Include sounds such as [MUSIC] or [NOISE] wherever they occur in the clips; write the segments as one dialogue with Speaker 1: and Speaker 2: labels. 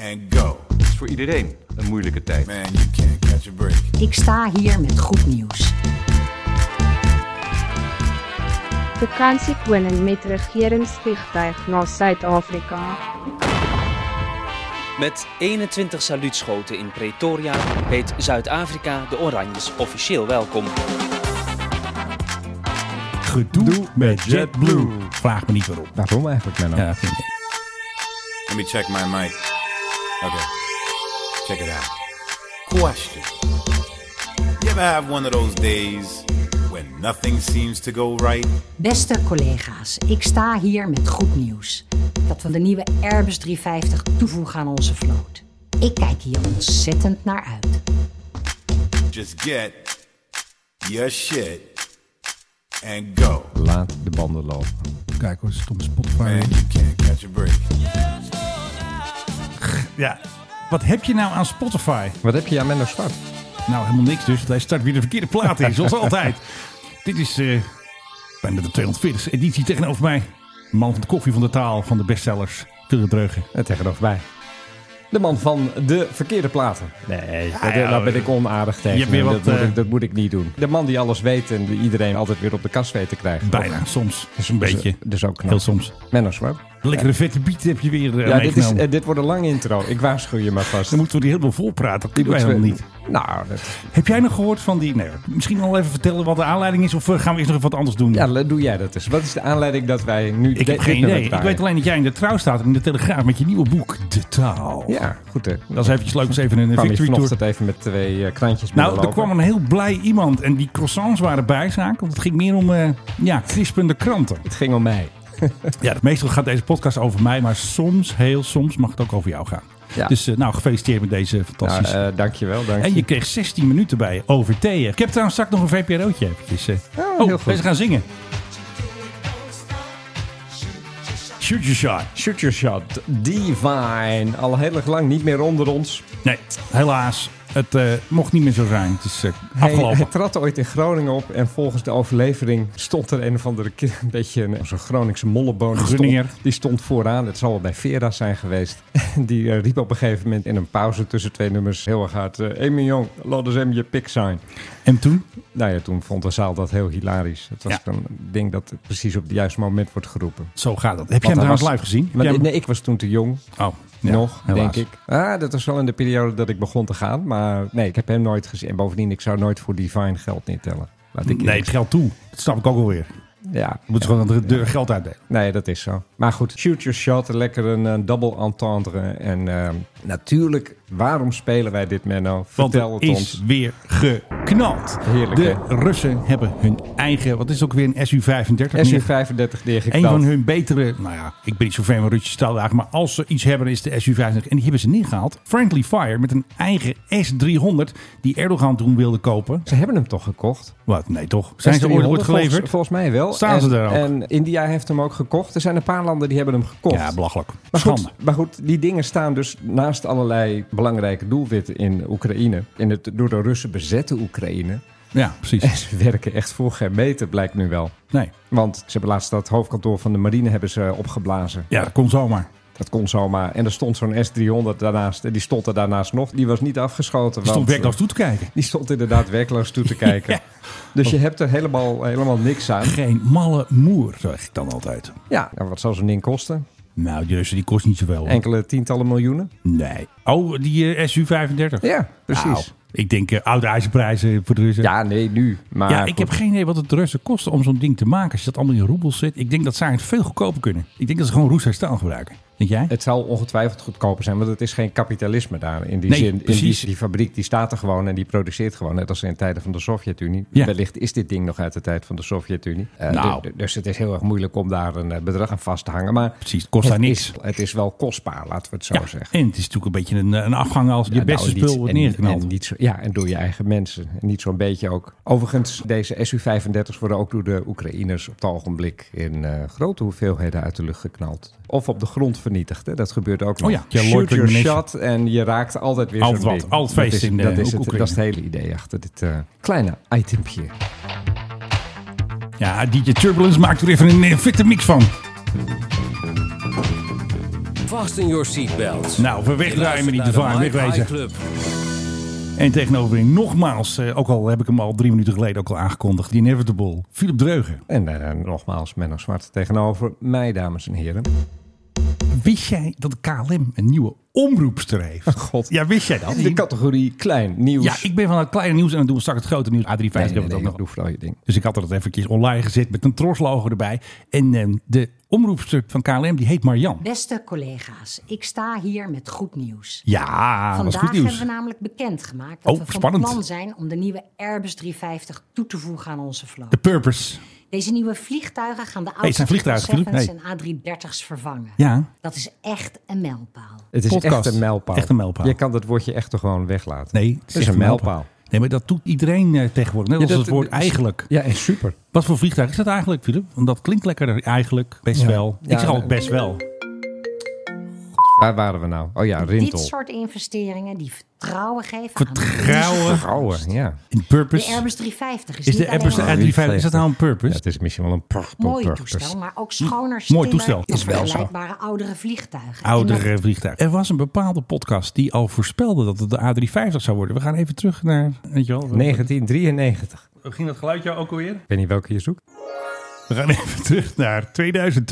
Speaker 1: and go.
Speaker 2: is voor iedereen een moeilijke tijd.
Speaker 1: Man, you can't catch a break.
Speaker 3: Ik sta hier met goed nieuws.
Speaker 4: Vakansiekoning met regeringsvliegtuig na Suid-Afrika.
Speaker 5: Met 21 saluutschoten in Pretoria heet Zuid-Afrika de Oranjes officieel welkom.
Speaker 6: Gedoe met JetBlue. Vraag me niet waarom.
Speaker 7: Waarom eigenlijk, Menno?
Speaker 6: Ja, vind ik.
Speaker 1: Let me check my mic. Okay. Check it out. Question. You ever have one of those days when nothing seems to go right?
Speaker 3: Beste collega's, ik sta hier met goed nieuws. Dat we de nieuwe Airbus 350 toevoegen aan onze vloot. Ik kijk hier ontzettend naar uit.
Speaker 1: Just get your shit and go.
Speaker 7: Laat de banden lopen.
Speaker 6: Kijk hoor, stom Spotify.
Speaker 1: Man, you can't catch a break.
Speaker 6: Ja. Wat heb je nou aan Spotify?
Speaker 7: Wat heb je aan Menno Zwart?
Speaker 6: Nou, helemaal niks dus. want Hij start weer de verkeerde plaat
Speaker 7: [LAUGHS]
Speaker 6: in, zoals altijd. Dit is eh, bijna de 240ste editie tegenover mij. De Man van de koffie, van de taal, van de bestsellers. Philip Dreugen.
Speaker 7: En tegenover mij. De man van de verkeerde platen. Nee, dat,
Speaker 6: ja,
Speaker 7: daar ben
Speaker 6: eh,
Speaker 7: ik onaardig tegen.
Speaker 6: hebt weer
Speaker 7: hem.
Speaker 6: wat,
Speaker 7: dat,
Speaker 6: eh,
Speaker 7: moet ik, dat moet ik niet doen. De man die alles weet en die iedereen altijd weer op de kast weet te krijgen.
Speaker 6: Bijna, soms. Dus een
Speaker 7: Dus,
Speaker 6: beetje.
Speaker 7: eh, Dus ook
Speaker 6: Heel
Speaker 7: knap.
Speaker 6: soms.
Speaker 7: Menno Zwart.
Speaker 6: De lekkere vette beat heb je weer eh,
Speaker 7: Ja, dit, is,
Speaker 6: meegenomen.
Speaker 7: eh, dit wordt een lange intro. Ik waarschuw je maar vast.
Speaker 6: Dan moeten we die helemaal volpraten. Dat kunnen wij
Speaker 7: moeten
Speaker 6: helemaal
Speaker 7: we-
Speaker 6: niet.
Speaker 7: Nou, dat,
Speaker 6: Heb jij nog gehoord van die... Nee, misschien al even vertellen wat de aanleiding is. Of eh, gaan we eerst nog even wat anders doen?
Speaker 7: ja, la- doe jij dat dus. Wat is de aanleiding dat wij nu
Speaker 6: ik heb geen idee. Ik weet alleen dat jij in de trouw staat. en In de Telegraaf met je nieuwe boek. De Taal.
Speaker 7: Ja, goed hè.
Speaker 6: Dat is eventjes leuk. om eens even een
Speaker 7: kwam je
Speaker 6: victory tour.
Speaker 7: vanochtend even met twee eh, krantjes
Speaker 6: Nou, er
Speaker 7: binnenlopen.
Speaker 6: kwam een heel blij iemand en die croissants waren bijzaak. Want het ging meer om eh ja, crispende kranten.
Speaker 7: Het ging om mij.
Speaker 6: Ja, meestal gaat deze podcast over mij, maar soms, heel soms, mag het ook over jou gaan.
Speaker 7: Ja.
Speaker 6: Dus eh, nou, gefeliciteerd met deze
Speaker 7: Nou,
Speaker 6: fantastische...
Speaker 7: eh, dankjewel, dankjewel.
Speaker 6: en je kreeg 16 minuten bij over thee. Ik heb trouwens straks nog een VPRO'tje eventjes. eh.
Speaker 7: Oh, heel goed.
Speaker 6: ze gaan zingen. Shoot your shot.
Speaker 7: Shoot your shot. Divine. Al heel erg lang niet meer onder ons.
Speaker 6: Nee, helaas. Het eh, mocht niet meer zo zijn. Het is eh,
Speaker 7: Hij,
Speaker 6: afgelopen.
Speaker 7: hij trad ooit in Groningen op en volgens de overlevering stond er een of andere keer een beetje een, zo'n Groningse molleboon. Die
Speaker 6: Groninger.
Speaker 7: stond, die stond vooraan. Het zal wel bij Vera zijn geweest. [LAUGHS] Die eh, riep op een gegeven moment in een pauze tussen twee nummers heel erg hard. Uh, Jong, laat eens hem je pik zijn.
Speaker 6: En toen?
Speaker 7: Nou ja, toen vond de zaal dat heel hilarisch. Het was
Speaker 6: Ja.
Speaker 7: een ding dat het precies op het juiste moment wordt geroepen.
Speaker 6: Zo gaat dat. Heb jij hem
Speaker 7: hij
Speaker 6: trouwens
Speaker 7: was-
Speaker 6: live gezien? Heb
Speaker 7: Maar,
Speaker 6: jij hem-
Speaker 7: nee, ik was toen te jong.
Speaker 6: Oh, ja,
Speaker 7: nog,
Speaker 6: helaas.
Speaker 7: denk ik. Ah, dat was wel in de periode dat ik begon te gaan. Maar nee, ik heb hem nooit gezien. En bovendien, ik zou nooit voor Divine geld niet tellen. Laat ik
Speaker 6: Nee, het geldt toe. Dat snap ik ook alweer.
Speaker 7: Ja,
Speaker 6: Je moet gewoon de deur geld uitdelen.
Speaker 7: nee, dat is zo. Maar goed, shoot your shot. Lekker een eh, double entendre. En ehm, natuurlijk, waarom spelen wij dit, Menno?
Speaker 6: Want
Speaker 7: Vertel
Speaker 6: het
Speaker 7: het,
Speaker 6: is
Speaker 7: ons.
Speaker 6: weer geknald.
Speaker 7: Heerlijk,
Speaker 6: de
Speaker 7: hè?
Speaker 6: Russen hebben hun eigen, wat is het ook weer, een SU-35. neer-
Speaker 7: SU35
Speaker 6: Een
Speaker 7: neergeknald.
Speaker 6: van hun betere, nou ja, ik ben niet zo fan van Russische staaldagen, maar als ze iets hebben is de SU-35. En die hebben ze neergehaald. Friendly Fire met een eigen S-300 die Erdogan toen wilde kopen.
Speaker 7: Ze hebben hem toch gekocht?
Speaker 6: Wat? Nee toch? Zijn ze ooit wordt
Speaker 7: Volgens-
Speaker 6: geleverd?
Speaker 7: Volgens, mij wel.
Speaker 6: Staan
Speaker 7: en,
Speaker 6: ze daar ook?
Speaker 7: En India heeft hem ook gekocht. Er zijn een paar landen die hebben hem gekocht.
Speaker 6: Ja, belachelijk.
Speaker 7: Maar
Speaker 6: Schande.
Speaker 7: goed, maar goed, die dingen staan dus naast allerlei belangrijke doelwitten in Oekraïne. In het door de Russen bezette Oekraïne.
Speaker 6: Ja,
Speaker 7: En [LAUGHS]
Speaker 6: precies.
Speaker 7: ze werken echt voor geen meter, blijkt nu wel.
Speaker 6: Nee.
Speaker 7: Want ze hebben laatst dat hoofdkantoor van de marine hebben ze opgeblazen.
Speaker 6: Ja, dat kon zomaar.
Speaker 7: Dat kon zomaar. En er stond zo'n S-300 daarnaast. En die stond er daarnaast nog. Die was niet afgeschoten.
Speaker 6: Die stond
Speaker 7: want- eh,
Speaker 6: werkloos toe te kijken.
Speaker 7: Die stond inderdaad werkloos toe te kijken.
Speaker 6: [LAUGHS] Ja.
Speaker 7: Dus je hebt er helemaal, helemaal niks aan.
Speaker 6: Geen malle moer, zeg ik dan altijd.
Speaker 7: Ja, nou, wat zal zo'n ding kosten?
Speaker 6: Nou, die Russen die kost niet zoveel. hoor.
Speaker 7: Enkele tientallen miljoenen?
Speaker 6: Nee. Oh, die eh, SU-35.
Speaker 7: Ja,
Speaker 6: Nou,
Speaker 7: precies.
Speaker 6: ik denk eh, oude ijzerprijzen voor de Russen.
Speaker 7: Ja, nee, nu. Maar
Speaker 6: Ja, ik
Speaker 7: goed.
Speaker 6: heb geen idee wat het de Russen kosten om zo'n ding te maken. Als je dat allemaal in roebels zit. Ik denk dat zij het veel goedkoper kunnen. Ik denk dat ze gewoon Roesters staal gebruiken. Denk jij?
Speaker 7: Het zal ongetwijfeld goedkoper zijn, want het is geen kapitalisme daar. In die
Speaker 6: Nee,
Speaker 7: zin, in die,
Speaker 6: precies.
Speaker 7: die fabriek die staat er gewoon en die produceert gewoon, net als in tijden van de Sovjet-Unie.
Speaker 6: Ja.
Speaker 7: Wellicht is dit ding nog uit de tijd van de Sovjet-Unie. Eh,
Speaker 6: Nou.
Speaker 7: du- dus het is heel erg moeilijk om daar een eh, bedrag aan vast te hangen. Maar
Speaker 6: Precies, het kost
Speaker 7: het
Speaker 6: daar
Speaker 7: is-
Speaker 6: niks.
Speaker 7: het is wel kostbaar, laten we het zo
Speaker 6: ja.
Speaker 7: zeggen.
Speaker 6: En het is natuurlijk een beetje een, eh, een afgang als je
Speaker 7: Ja, nou,
Speaker 6: beste
Speaker 7: en niet-
Speaker 6: spul wordt
Speaker 7: en-
Speaker 6: neergeknald.
Speaker 7: En niet zo, ja, en door je eigen mensen. En niet zo'n beetje ook. Overigens, deze SU-35's worden ook door de Oekraïners op het ogenblik in eh, grote hoeveelheden uit de lucht geknald. Of op de grond vernietigd. Hè. Dat gebeurt ook nog.
Speaker 6: Oh ja. Ja,
Speaker 7: Shoot
Speaker 6: Lord
Speaker 7: your
Speaker 6: Ammunition.
Speaker 7: shot en je raakt altijd weer
Speaker 6: Altijd
Speaker 7: zo'n
Speaker 6: wat,
Speaker 7: ding.
Speaker 6: altijd feest
Speaker 7: dat is,
Speaker 6: in de
Speaker 7: dat, is het,
Speaker 6: Oekraïne.
Speaker 7: dat is het hele idee achter dit eh, kleine itempje.
Speaker 6: Ja, DJ Turbulence maakt er even een eh, fitte mix van.
Speaker 8: Fasten your seatbelts.
Speaker 6: Nou, we wegdraaien met die divine, wegwezen. En tegenoverin nogmaals, eh, ook al heb ik hem al drie minuten geleden ook al aangekondigd, The Inevitable, Philip Dreugen.
Speaker 7: En eh, nogmaals Menno Zwart tegenover mij, dames en heren.
Speaker 6: Wist jij dat KLM een nieuwe omroepster [LAUGHS] heeft?
Speaker 7: God.
Speaker 6: Oh, Ja, wist jij dat?
Speaker 7: In de categorie klein nieuws.
Speaker 6: Ja, ik ben van het kleine nieuws en dan doen we straks het grote nieuws. A350
Speaker 7: Nee,
Speaker 6: hebben
Speaker 7: nee,
Speaker 6: we het
Speaker 7: nee,
Speaker 6: ook nog.
Speaker 7: doe vooral je ding.
Speaker 6: Dus ik had dat eventjes online gezet met een troslogo erbij. En eh, de omroepster van KLM, die heet Marjan.
Speaker 3: Beste collega's, ik sta hier met goed nieuws.
Speaker 6: Ja, dat is
Speaker 3: Vandaag
Speaker 6: goed nieuws.
Speaker 3: hebben we namelijk bekendgemaakt dat
Speaker 6: Oh,
Speaker 3: we van
Speaker 6: spannend.
Speaker 3: plan zijn om de nieuwe Airbus 350 toe te voegen aan onze vloot.
Speaker 6: De Purpose.
Speaker 3: Deze nieuwe vliegtuigen gaan de
Speaker 6: het
Speaker 3: oude
Speaker 6: zijn vliegtuigen,
Speaker 3: A7's
Speaker 6: Philip.
Speaker 3: en A330's vervangen.
Speaker 6: Ja.
Speaker 3: Dat is echt een mijlpaal.
Speaker 7: Het is
Speaker 6: Podcast.
Speaker 7: echt een mijlpaal.
Speaker 6: Echt een mijlpaal.
Speaker 7: Je kan dat woordje echt toch gewoon weglaten.
Speaker 6: Nee, het
Speaker 7: is een mijlpaal.
Speaker 6: Nee, maar dat doet iedereen eh, tegenwoordig. Net
Speaker 7: Ja,
Speaker 6: als
Speaker 7: dat-
Speaker 6: het woord
Speaker 7: dat-
Speaker 6: eigenlijk.
Speaker 7: Ja, en super.
Speaker 6: Wat voor vliegtuig is dat eigenlijk, Philip? Want dat klinkt lekkerder eigenlijk. Best wel.
Speaker 7: Ja,
Speaker 6: ik zeg altijd
Speaker 7: nee.
Speaker 6: best wel.
Speaker 7: Waar waren we nou? Oh ja,
Speaker 3: Dit
Speaker 7: Rintel.
Speaker 3: soort investeringen die vertrouwen geven aan
Speaker 6: Vertrouwen.
Speaker 7: Trouwen, ja.
Speaker 6: In
Speaker 3: de
Speaker 6: purpose.
Speaker 3: Airbus 350. Is,
Speaker 6: Is de
Speaker 3: niet
Speaker 6: Airbus
Speaker 3: alleen
Speaker 7: een
Speaker 6: A350, is dat nou een
Speaker 7: Ja,
Speaker 6: purpose?
Speaker 7: het is misschien wel een prachtig
Speaker 3: een mooi
Speaker 7: prachtig-
Speaker 3: toestel, maar ook schoner,
Speaker 6: mooi
Speaker 3: stiller
Speaker 6: toestel.
Speaker 3: dan
Speaker 6: Is wel zo.
Speaker 3: vergelijkbare oudere vliegtuigen. En
Speaker 6: Oudere vliegtuig. Er was een bepaalde podcast die al voorspelde dat het de A350 zou worden. We gaan even terug naar, weet je wel.
Speaker 7: 1993.
Speaker 6: Ging dat geluidje ook alweer?
Speaker 7: Ik weet niet welke je zoekt.
Speaker 6: We gaan even terug naar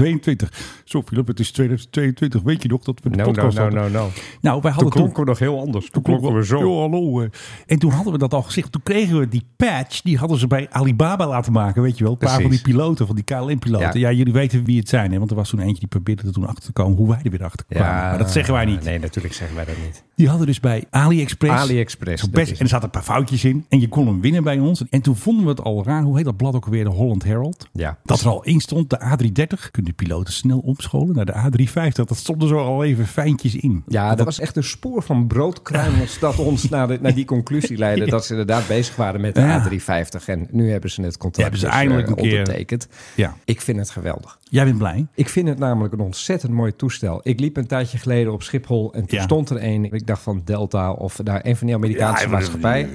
Speaker 6: 2022. Zo, Philip, het is 2022. Weet je nog dat we de
Speaker 7: No, no,
Speaker 6: podcast
Speaker 7: no,
Speaker 6: hadden?
Speaker 7: no, no.
Speaker 6: Nou, wij hadden toen...
Speaker 7: we nog heel anders. Toen
Speaker 6: Ja, hallo. eh. En toen hadden we dat al gezegd. Toen kregen we die patch. Die hadden ze bij Alibaba laten maken. Weet je wel. Een paar van die
Speaker 7: Precies.
Speaker 6: piloten. Van die KLM-piloten. Ja.
Speaker 7: Ja.
Speaker 6: jullie weten wie het zijn. Hè? Want er was toen eentje die probeerde er toen achter te komen. Hoe wij er weer achter kwamen. maar dat zeggen wij niet.
Speaker 7: Nee, natuurlijk zeggen wij dat niet.
Speaker 6: Die hadden dus bij AliExpress.
Speaker 7: AliExpress,
Speaker 6: Zo'n
Speaker 7: dat
Speaker 6: Best,
Speaker 7: is
Speaker 6: en er zaten een paar foutjes in. En je kon hem winnen bij ons. En toen vonden we het al raar. Hoe heet dat blad ook weer? De Holland Herald.
Speaker 7: Ja.
Speaker 6: Dat er al in stond. De A330. Kunnen de piloten snel omscholen naar de A350. Dat stond er zo al even fijntjes in.
Speaker 7: Ja, dat was echt een spoor van
Speaker 6: [LAUGHS]
Speaker 7: broodkruimels dat ons naar, de- naar die conclusie leidde dat ze inderdaad bezig waren met de
Speaker 6: Ja.
Speaker 7: A350. En nu hebben ze het contract
Speaker 6: Hebben ze
Speaker 7: dus,
Speaker 6: eindelijk
Speaker 7: eh,
Speaker 6: een keer-
Speaker 7: ondertekend.
Speaker 6: Ja.
Speaker 7: Ik vind het geweldig.
Speaker 6: Jij bent blij?
Speaker 7: Ik vind het namelijk een ontzettend mooi toestel. Ik liep een tijdje geleden op Schiphol en toen
Speaker 6: Ja.
Speaker 7: stond er een, ik dacht van Delta of nou, een van die Amerikaanse maatschappij.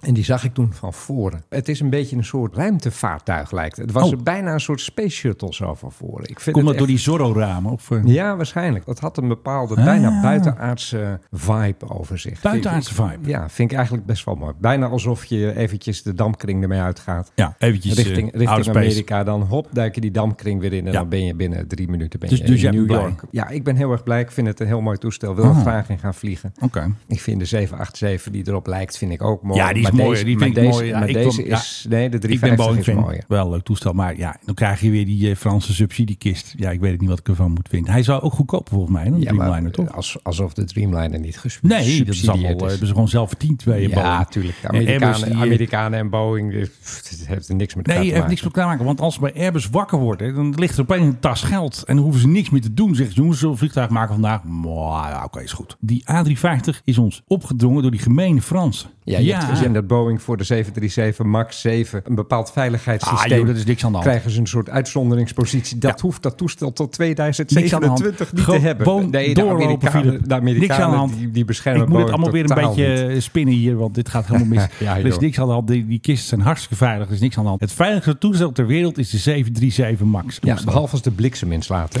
Speaker 7: En die zag ik toen van voren. Het is een beetje een soort ruimtevaartuig lijkt. het. Het was
Speaker 6: Oh.
Speaker 7: er bijna een soort space shuttle zo van voren. Ik vind
Speaker 6: Komt
Speaker 7: het
Speaker 6: dat door Ah.
Speaker 7: echt-
Speaker 6: die Zorro-ramen? Of, eh,
Speaker 7: Ja, waarschijnlijk. Dat had een bepaalde bijna buitenaardse vibe over zich.
Speaker 6: Buitenaardse
Speaker 7: Vind ik-
Speaker 6: vibe.
Speaker 7: Ja, vind ik eigenlijk best wel mooi. Bijna alsof je eventjes de damkring ermee uitgaat.
Speaker 6: Ja, eventjes eh,
Speaker 7: Richting,
Speaker 6: outer
Speaker 7: richting
Speaker 6: space.
Speaker 7: Amerika, dan hop, duik je die damkring weer in en
Speaker 6: Ja.
Speaker 7: dan ben je binnen drie minuten ben
Speaker 6: Dus-
Speaker 7: je
Speaker 6: dus jij
Speaker 7: in New
Speaker 6: bent blij?
Speaker 7: York. Ja, ik ben heel erg blij. Ik vind het een heel mooi toestel. Wil er
Speaker 6: Ah.
Speaker 7: graag in gaan vliegen.
Speaker 6: Oké.
Speaker 7: Ik vind de 787 die erop lijkt, vind ik ook mooi.
Speaker 6: Ja, die is
Speaker 7: maar
Speaker 6: mooier.
Speaker 7: Deze,
Speaker 6: Die
Speaker 7: maar
Speaker 6: vind ik
Speaker 7: deze,
Speaker 6: mooier. Ja,
Speaker 7: maar
Speaker 6: ik
Speaker 7: deze
Speaker 6: wil-
Speaker 7: is, nee, de
Speaker 6: Ik ben
Speaker 7: 350
Speaker 6: Boeing
Speaker 7: is
Speaker 6: fan.
Speaker 7: mooier.
Speaker 6: Wel een leuk toestel, maar ja, dan krijg je weer die eh, Franse subsidiekist. Ja, ik weet het niet wat ik ervan moet vinden. Hij zou ook goedkoper volgens mij dan de
Speaker 7: Ja, maar
Speaker 6: Dreamliner, toch?
Speaker 7: als, alsof de Dreamliner niet gesubsidieerd
Speaker 6: Nee, dat is allemaal, eh, hebben ze gewoon zelf verdiend bij
Speaker 7: Ja,
Speaker 6: Boeing.
Speaker 7: natuurlijk. De
Speaker 6: En Airbus
Speaker 7: Amerikanen,
Speaker 6: die, eh,
Speaker 7: Amerikanen en Boeing, [LAUGHS] eh, pff, het heeft er niks met elkaar
Speaker 6: Nee, je
Speaker 7: te
Speaker 6: heeft
Speaker 7: maken.
Speaker 6: niks met elkaar te maken. Want als ze bij Airbus wakker worden, dan ligt er opeens een tas geld. En dan hoeven ze niks meer te doen. Zeggen ze, jongens, zullen we een vliegtuig maken vandaag? Mwah, ja, oké, is goed. Die A350 is ons opgedrongen door die gemene Fransen.
Speaker 7: Ja, je hebt gezien dat Boeing voor de 737 MAX 7 een bepaald veiligheidssysteem...
Speaker 6: Ah, joh, dat is niks aan de hand.
Speaker 7: Krijgen ze een soort uitzonderingspositie. Dat
Speaker 6: Ja.
Speaker 7: hoeft dat toestel tot
Speaker 6: Niks aan de hand.
Speaker 7: 2027 niet te
Speaker 6: Gewoon
Speaker 7: hebben. Nee, de
Speaker 6: doorlopen,
Speaker 7: Amerikanen,
Speaker 6: Philip.
Speaker 7: de
Speaker 6: Niks aan de hand.
Speaker 7: Amerikanen die, die beschermen
Speaker 6: Ik moet het
Speaker 7: Boeing
Speaker 6: allemaal weer een
Speaker 7: totaal niet.
Speaker 6: beetje eh, spinnen hier, want dit gaat helemaal mis.
Speaker 7: [LAUGHS] Ja,
Speaker 6: er is
Speaker 7: joh.
Speaker 6: niks aan de hand. Die, die kisten zijn hartstikke veilig. Er is niks aan de hand. Het veiligste toestel ter wereld is de 737 MAX.
Speaker 7: Ja,
Speaker 6: toestel.
Speaker 7: behalve als de bliksem inslaat. Hè.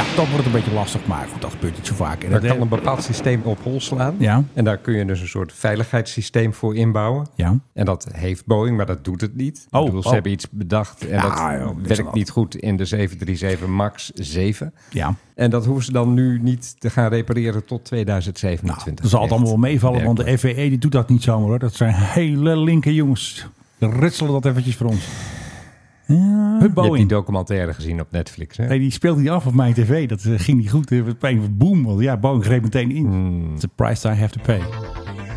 Speaker 6: ja, dat wordt een beetje lastig, maar goed, dat gebeurt niet zo vaak. En
Speaker 7: Daar
Speaker 6: dat-
Speaker 7: kan een bepaald systeem op hol slaan.
Speaker 6: Ja.
Speaker 7: En daar kun je dus een soort veiligheidssysteem voor inbouwen.
Speaker 6: Ja.
Speaker 7: En dat heeft Boeing, maar dat doet het niet.
Speaker 6: Oh,
Speaker 7: Ik bedoel, ze
Speaker 6: oh.
Speaker 7: hebben iets bedacht en
Speaker 6: Ja,
Speaker 7: dat
Speaker 6: joh, niks aan de
Speaker 7: werkt
Speaker 6: hand.
Speaker 7: niet goed in de 737 MAX 7.
Speaker 6: ja.
Speaker 7: En dat hoeven ze dan nu niet te gaan repareren tot
Speaker 6: Nou,
Speaker 7: 2027.
Speaker 6: dat zal het
Speaker 7: Echt
Speaker 6: allemaal wel meevallen, want de
Speaker 7: werkelijk.
Speaker 6: FVE die doet dat niet zomaar hoor. Dat zijn hele linker jongens. Ritselen dat eventjes voor ons. Ja, Hup,
Speaker 7: Je hebt die
Speaker 6: Boeing.
Speaker 7: documentaire gezien op Netflix, hè?
Speaker 6: Nee, die speelt niet af op mijn tv. Dat eh, ging niet goed. Eh, Opeens boom. Want ja, Boeing greep meteen in.
Speaker 7: Hmm.
Speaker 6: It's the price I have to pay.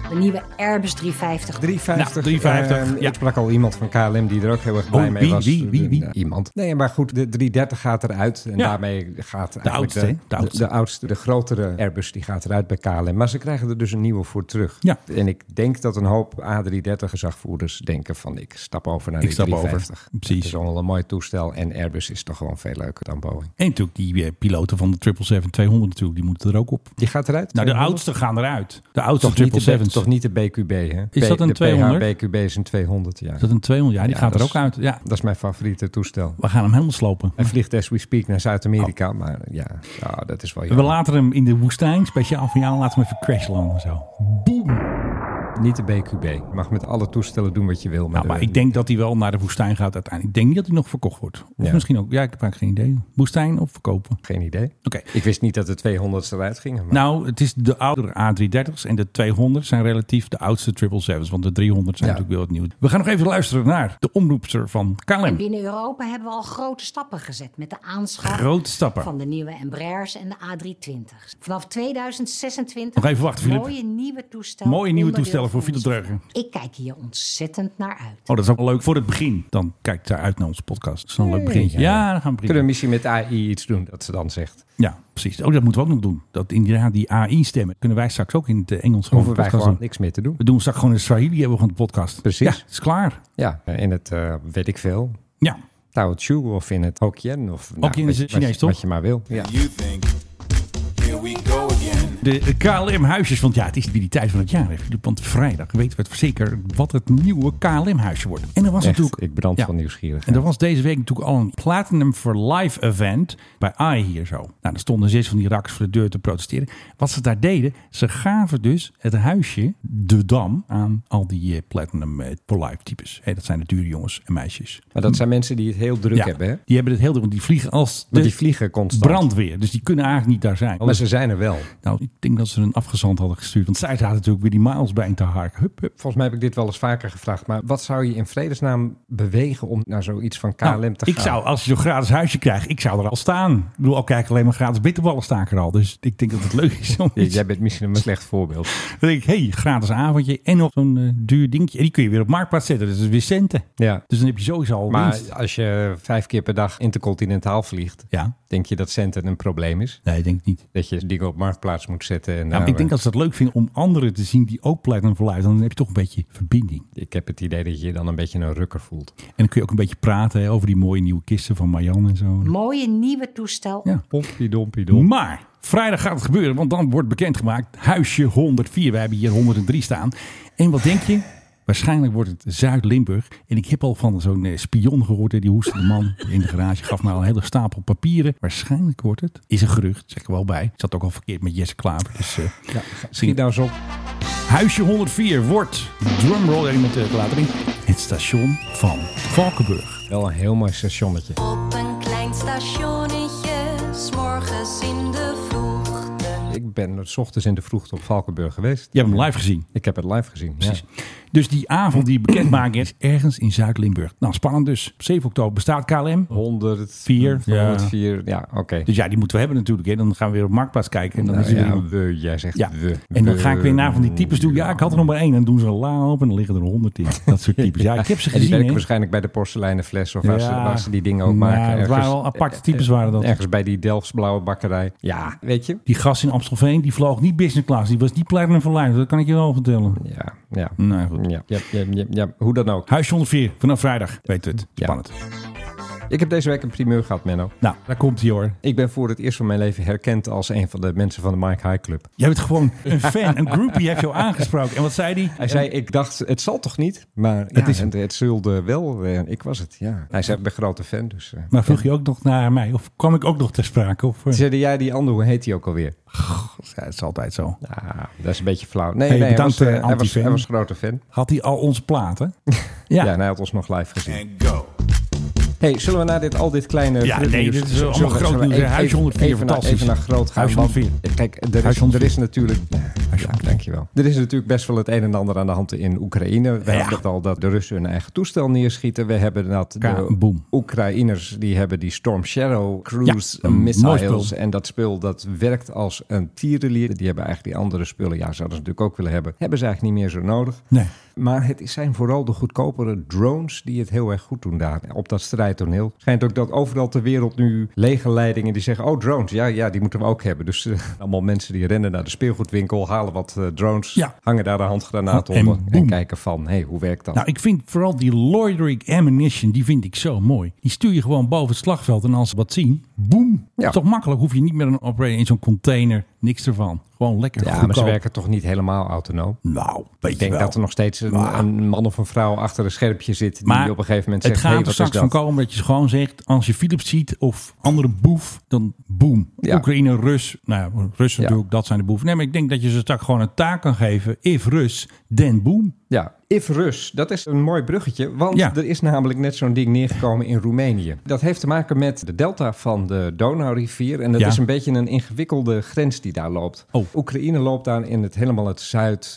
Speaker 3: De nieuwe Airbus 350
Speaker 7: 350.
Speaker 6: Nou, 350,
Speaker 7: Ehm,
Speaker 6: ja.
Speaker 7: Ik sprak al iemand van KLM die er ook heel erg blij
Speaker 6: Oh,
Speaker 7: mee
Speaker 6: wie,
Speaker 7: was.
Speaker 6: wie, wie, wie?
Speaker 7: Eh, Iemand. Nee, maar goed, de 330 gaat eruit. En
Speaker 6: Ja.
Speaker 7: daarmee gaat eigenlijk
Speaker 6: oudste, hè?
Speaker 7: de,
Speaker 6: De oudste.
Speaker 7: de oudste, de grotere Airbus, die gaat eruit bij KLM. Maar ze krijgen er dus een nieuwe voor terug.
Speaker 6: Ja.
Speaker 7: En ik denk dat een hoop A330-gezagvoerders denken van ik stap over naar
Speaker 6: Ik
Speaker 7: de
Speaker 6: stap over.
Speaker 7: 350.
Speaker 6: Precies.
Speaker 7: Het is allemaal een mooi toestel. En Airbus is toch gewoon veel leuker dan Boeing.
Speaker 6: En natuurlijk die eh, piloten van de 777-200 natuurlijk. Die moeten er ook op.
Speaker 7: Die gaat eruit.
Speaker 6: Nou, de
Speaker 7: 200?
Speaker 6: oudste gaan eruit. De oudste
Speaker 7: Toch niet de
Speaker 6: 777's
Speaker 7: toch niet de BQB, hè?
Speaker 6: Is
Speaker 7: P-
Speaker 6: dat een
Speaker 7: de
Speaker 6: 200?
Speaker 7: PH-BQB is een 200, ja.
Speaker 6: Is dat een 200? Ja, die
Speaker 7: Ja,
Speaker 6: gaat er
Speaker 7: dat
Speaker 6: ook
Speaker 7: is-
Speaker 6: uit. Ja,
Speaker 7: Dat is mijn favoriete toestel.
Speaker 6: we gaan hem helemaal slopen.
Speaker 7: Hij vliegt as we speak naar
Speaker 6: Oh.
Speaker 7: Zuid-Amerika, maar ja, ja, dat is wel
Speaker 6: We
Speaker 7: jammer.
Speaker 6: laten hem in de woestijn, speciaal voor jou, laten we hem even crashlanden zo.
Speaker 7: Niet de BQB. Je mag met alle toestellen doen wat je wil.
Speaker 6: Nou, maar
Speaker 7: de-
Speaker 6: ik denk dat hij wel naar de woestijn gaat uiteindelijk. Ik denk niet dat hij nog verkocht wordt. Of
Speaker 7: Ja.
Speaker 6: misschien ook, ja, ik heb eigenlijk geen idee. Woestijn of verkopen.
Speaker 7: Geen idee.
Speaker 6: Oké.
Speaker 7: Ik wist niet dat de 200 eruit gingen. Maar...
Speaker 6: Nou, het is de oudere A330's en de 200 zijn relatief de oudste 777's. Want de 300 zijn
Speaker 7: Ja.
Speaker 6: natuurlijk wel het nieuw. We gaan nog even luisteren naar de omroepster van KLM.
Speaker 3: Binnen Europa hebben we al grote stappen gezet met de aanschaf
Speaker 6: Grote stappen.
Speaker 3: van de nieuwe Embraers en de A320's. Vanaf 2026
Speaker 6: Nog even wachten, Filip.
Speaker 3: mooie nieuwe toestellen.
Speaker 6: Mooie nieuwe
Speaker 3: onderdeel
Speaker 6: toestellen voor
Speaker 3: van ons
Speaker 6: Philip
Speaker 3: vloot. Ik kijk hier ontzettend naar uit.
Speaker 6: Oh, dat is ook wel leuk voor het begin. Dan kijkt zij uit naar onze podcast. Dat is een leuk begintje. Ja, dan gaan we
Speaker 7: Kunnen
Speaker 6: beginnen.
Speaker 7: we misschien met AI iets doen, dat ze dan zegt.
Speaker 6: Ja, precies. Oh, dat moeten we ook nog doen. Dat inderdaad die AI-stemmen kunnen wij straks ook in het eh, Engels gewoon
Speaker 7: Hoeven wij
Speaker 6: podcast doen.
Speaker 7: gewoon niks meer te doen.
Speaker 6: We doen straks gewoon in Swahili hebben we gewoon de podcast.
Speaker 7: Precies.
Speaker 6: Ja, het is klaar.
Speaker 7: Ja, in het, eh, weet ik veel,
Speaker 6: Ja.
Speaker 7: Taochu of in het Hokkien. Of, nou,
Speaker 6: Hokkien
Speaker 7: wat
Speaker 6: is
Speaker 7: je- wat
Speaker 6: het
Speaker 7: je-
Speaker 6: Chinees, toch?
Speaker 7: Wat je maar wil. Ja.
Speaker 1: You think, here we go again.
Speaker 6: De KLM-huisjes, want ja, het is weer die tijd van het jaar. hè, Filip, Want vrijdag weten we het zeker wat het nieuwe KLM-huisje wordt. En er was
Speaker 7: Echt,
Speaker 6: natuurlijk...
Speaker 7: ik brand
Speaker 6: Ja.
Speaker 7: van nieuwsgierigheid.
Speaker 6: En er was deze week natuurlijk al een Platinum for Life event bij AI hier zo. Nou, er stonden zes van die raks voor de deur te protesteren. Wat ze daar deden, ze gaven dus het huisje, de Dam, aan al die eh, Platinum eh, for Life types. Hè, dat zijn de dure jongens en meisjes.
Speaker 7: Maar dat zijn mensen die het heel druk
Speaker 6: Ja,
Speaker 7: hebben, hè?
Speaker 6: die hebben het heel druk, want die vliegen als de
Speaker 7: Want die vliegen constant.
Speaker 6: brandweer. Dus die kunnen eigenlijk niet daar zijn.
Speaker 7: Maar ze zijn er wel.
Speaker 6: Nou, ik denk dat ze een afgezant hadden gestuurd. Want zij zaten natuurlijk weer die miles bij in te haken. Hup, hup.
Speaker 7: Volgens mij heb ik dit wel eens vaker gevraagd. Maar wat zou je in vredesnaam bewegen om naar zoiets van KLM
Speaker 6: Nou,
Speaker 7: te gaan?
Speaker 6: ik zou, als je zo'n gratis huisje krijgt, ik zou er al staan. Ik bedoel, al kijk alleen maar gratis bitterballen staan er al. Dus ik denk dat het leuk is om
Speaker 7: Ja,
Speaker 6: iets-
Speaker 7: Jij bent misschien een slecht voorbeeld.
Speaker 6: Dan denk ik, hé, hey, gratis avondje en nog zo'n eh, duur dingetje. En die kun je weer op marktplaats zetten. Dus dat is weer centen.
Speaker 7: Ja.
Speaker 6: Dus dan heb je sowieso al
Speaker 7: Maar
Speaker 6: winst.
Speaker 7: als je vijf keer per dag intercontinentaal vliegt,
Speaker 6: Ja,
Speaker 7: denk je dat centen een probleem is?
Speaker 6: nee, ik denk het niet.
Speaker 7: Dat je dingen op marktplaats moet zetten. En
Speaker 6: Ja, maar
Speaker 7: daar-
Speaker 6: Nou, ik denk dat ze dat leuk vinden om anderen te zien die ook platinum verluiden. Dan heb je toch een beetje verbinding.
Speaker 7: ik heb het idee dat je je dan een beetje een rukker voelt.
Speaker 6: En dan kun je ook een beetje praten hè, over die mooie nieuwe kisten van Marjan en zo.
Speaker 3: Mooie nieuwe toestel.
Speaker 6: Ja.
Speaker 7: Pompie dompie
Speaker 6: Maar vrijdag gaat het gebeuren, want dan wordt bekendgemaakt huisje 104. We hebben hier 103 staan. En wat denk je? Waarschijnlijk wordt het Zuid-Limburg. En ik heb al van zo'n eh, spion gehoord. hè, Die hoestende man in de garage gaf mij al een hele stapel papieren. Waarschijnlijk wordt het. Is een gerucht, zeg ik er wel bij. Ik zat ook al verkeerd met Jesse Klaver. Dus, eh,
Speaker 7: Schiet nou eens op.
Speaker 6: Huisje 104 wordt, drumroll, ja, iemand eh, later in, het station van Valkenburg.
Speaker 7: Wel een heel mooi stationnetje.
Speaker 8: Op een klein stationnetje, s'morgens in de vroegte.
Speaker 7: Ik ben s ochtends in de vroegte op Valkenburg geweest.
Speaker 6: Je hebt hem live gezien.
Speaker 7: Ik heb het live gezien. ja.
Speaker 6: Dus die avond die bekendmaking is ergens in Zuid-Limburg. Nou, spannend dus. 7 oktober bestaat KLM.
Speaker 7: 104.
Speaker 6: Ja.
Speaker 7: 104. Ja, oké.
Speaker 6: Dus ja, die moeten we hebben natuurlijk. Hè. Dan gaan we weer op Marktplaats kijken. En dan is
Speaker 7: Nou
Speaker 6: er
Speaker 7: ja,
Speaker 6: weer-
Speaker 7: we, jij zegt
Speaker 6: ja.
Speaker 7: we.
Speaker 6: En dan
Speaker 7: We.
Speaker 6: ga ik weer naar van die types doen. Ja, ik had er nog maar één. En doen ze een la op en dan liggen er honderd in. Dat soort types. Ja, ik heb ze
Speaker 7: [LAUGHS] En die
Speaker 6: gezien.
Speaker 7: werken
Speaker 6: hè.
Speaker 7: waarschijnlijk bij de porseleinen fles of waar, ze,
Speaker 6: Ja.
Speaker 7: waar ze die dingen ook
Speaker 6: Nou,
Speaker 7: maken.
Speaker 6: dat waren wel aparte types waren dat.
Speaker 7: Ergens bij die Delfts blauwe bakkerij. Ja, weet je?
Speaker 6: Die gast in Amstelveen, die vloog niet business class. Die was niet platinum van lijn. Dat kan ik je wel vertellen.
Speaker 7: Ja, ja.
Speaker 6: Nou goed.
Speaker 7: Ja, ja, ja, ja, ja, hoe dan ook.
Speaker 6: Huisje 104, vanaf vrijdag. Weet het.
Speaker 7: Ja.
Speaker 6: Spannend.
Speaker 7: Ik heb deze week een primeur gehad, Menno.
Speaker 6: Nou, daar komt hij hoor.
Speaker 7: Ik ben voor het eerst van mijn leven herkend als een van de mensen van de Mike High Club.
Speaker 6: Jij bent gewoon een fan. Een groupie heeft jou aangesproken. En wat zei die?
Speaker 7: Hij zei, ik dacht, het zal toch niet? Maar het,
Speaker 6: is
Speaker 7: is
Speaker 6: hem.
Speaker 7: het, het zulde wel. eh, Ik was het, ja. Hij zei, ik ben grote fan, dus... eh.
Speaker 6: Maar vroeg je ook nog naar mij? Of kwam ik ook nog ter sprake? Of, eh?
Speaker 7: Zeiden jij die andere, hoe heet hij ook alweer?
Speaker 6: Ja, het is altijd zo.
Speaker 7: Ah, dat is een beetje flauw. Nee,
Speaker 6: Hey,
Speaker 7: nee
Speaker 6: bedankt,
Speaker 7: hij, was,
Speaker 6: eh,
Speaker 7: eh, hij, was,
Speaker 6: anti-fan.
Speaker 7: hij was grote fan.
Speaker 6: Had hij al onze platen?
Speaker 7: [LAUGHS] Ja. nou.
Speaker 6: Ja.
Speaker 7: en hij had ons nog live gezien.
Speaker 1: And go.
Speaker 7: Hey, zullen we na dit al dit kleine...
Speaker 6: Ja,
Speaker 7: druknieuws-
Speaker 6: nee, dit is allemaal
Speaker 7: zullen we-
Speaker 6: groot
Speaker 7: zullen we
Speaker 6: nieuws, hè?
Speaker 7: even-
Speaker 6: Huisje 104,
Speaker 7: even, naar-
Speaker 6: fantastisch.
Speaker 7: Even naar groot gaan.
Speaker 6: Huisje
Speaker 7: want-
Speaker 6: 104.
Speaker 7: Kijk, er is,
Speaker 6: Huisje
Speaker 7: er
Speaker 6: 104.
Speaker 7: is natuurlijk... Ja,
Speaker 6: 104.
Speaker 7: dankjewel. Er is natuurlijk best wel het een en ander aan de hand in Oekraïne. We
Speaker 6: Ja.
Speaker 7: hebben het al dat de Russen hun eigen toestel neerschieten. We hebben dat de
Speaker 6: Kaboom.
Speaker 7: Oekraïners die hebben die Storm Shadow cruise
Speaker 6: Ja, een mooi
Speaker 7: missiles.
Speaker 6: spul.
Speaker 7: En dat spul dat werkt als een tierenlier. Die hebben eigenlijk die andere spullen. Ja, zouden ze natuurlijk ook willen hebben. Hebben ze eigenlijk niet meer zo nodig.
Speaker 6: Nee.
Speaker 7: Maar het zijn vooral de goedkopere drones die het heel erg goed doen daar op dat strijdtoneel. Schijnt ook dat overal ter wereld nu legerleidingen die zeggen: Oh, drones, ja, ja die moeten we ook hebben. Dus eh, [LAUGHS] allemaal mensen die rennen naar de speelgoedwinkel, halen wat eh, drones,
Speaker 6: Ja.
Speaker 7: hangen daar de handgranaat
Speaker 6: En
Speaker 7: onder en,
Speaker 6: boem.
Speaker 7: kijken van: hey, hoe werkt dat?
Speaker 6: Nou, ik vind vooral die loitering ammunition, die vind ik zo mooi. Die stuur je gewoon boven het slagveld en als ze wat zien, Boem.
Speaker 7: Ja.
Speaker 6: Toch makkelijk. Hoef je niet meer een operator in zo'n container. Niks ervan. Gewoon lekker
Speaker 7: Ja, maar ze
Speaker 6: goedkoop.
Speaker 7: werken toch niet helemaal autonoom.
Speaker 6: Nou, weet
Speaker 7: Ik denk
Speaker 6: je wel.
Speaker 7: dat er nog steeds een,
Speaker 6: Maar-
Speaker 7: een man of een vrouw achter een schermpje zit. Die op een gegeven moment zegt,
Speaker 6: het gaat
Speaker 7: hey,
Speaker 6: er
Speaker 7: wat is
Speaker 6: straks
Speaker 7: dat?
Speaker 6: van komen dat je gewoon zegt... als je Philips ziet of andere boef, dan boem.
Speaker 7: Ja.
Speaker 6: Oekraïne, Rus. Nou ja, Russen
Speaker 7: Ja.
Speaker 6: natuurlijk, dat zijn de boeven. Nee, maar ik denk dat je ze straks gewoon een taak kan geven. If Rus, then boem.
Speaker 7: Ja, if Rus, dat is een mooi bruggetje. Want
Speaker 6: Ja.
Speaker 7: er is namelijk net zo'n ding neergekomen in Roemenië. Dat heeft te maken met de delta van de Donaurivier. En dat
Speaker 6: Ja.
Speaker 7: is een beetje een ingewikkelde grens die daar loopt.
Speaker 6: Oh.
Speaker 7: Oekraïne loopt daar in het helemaal het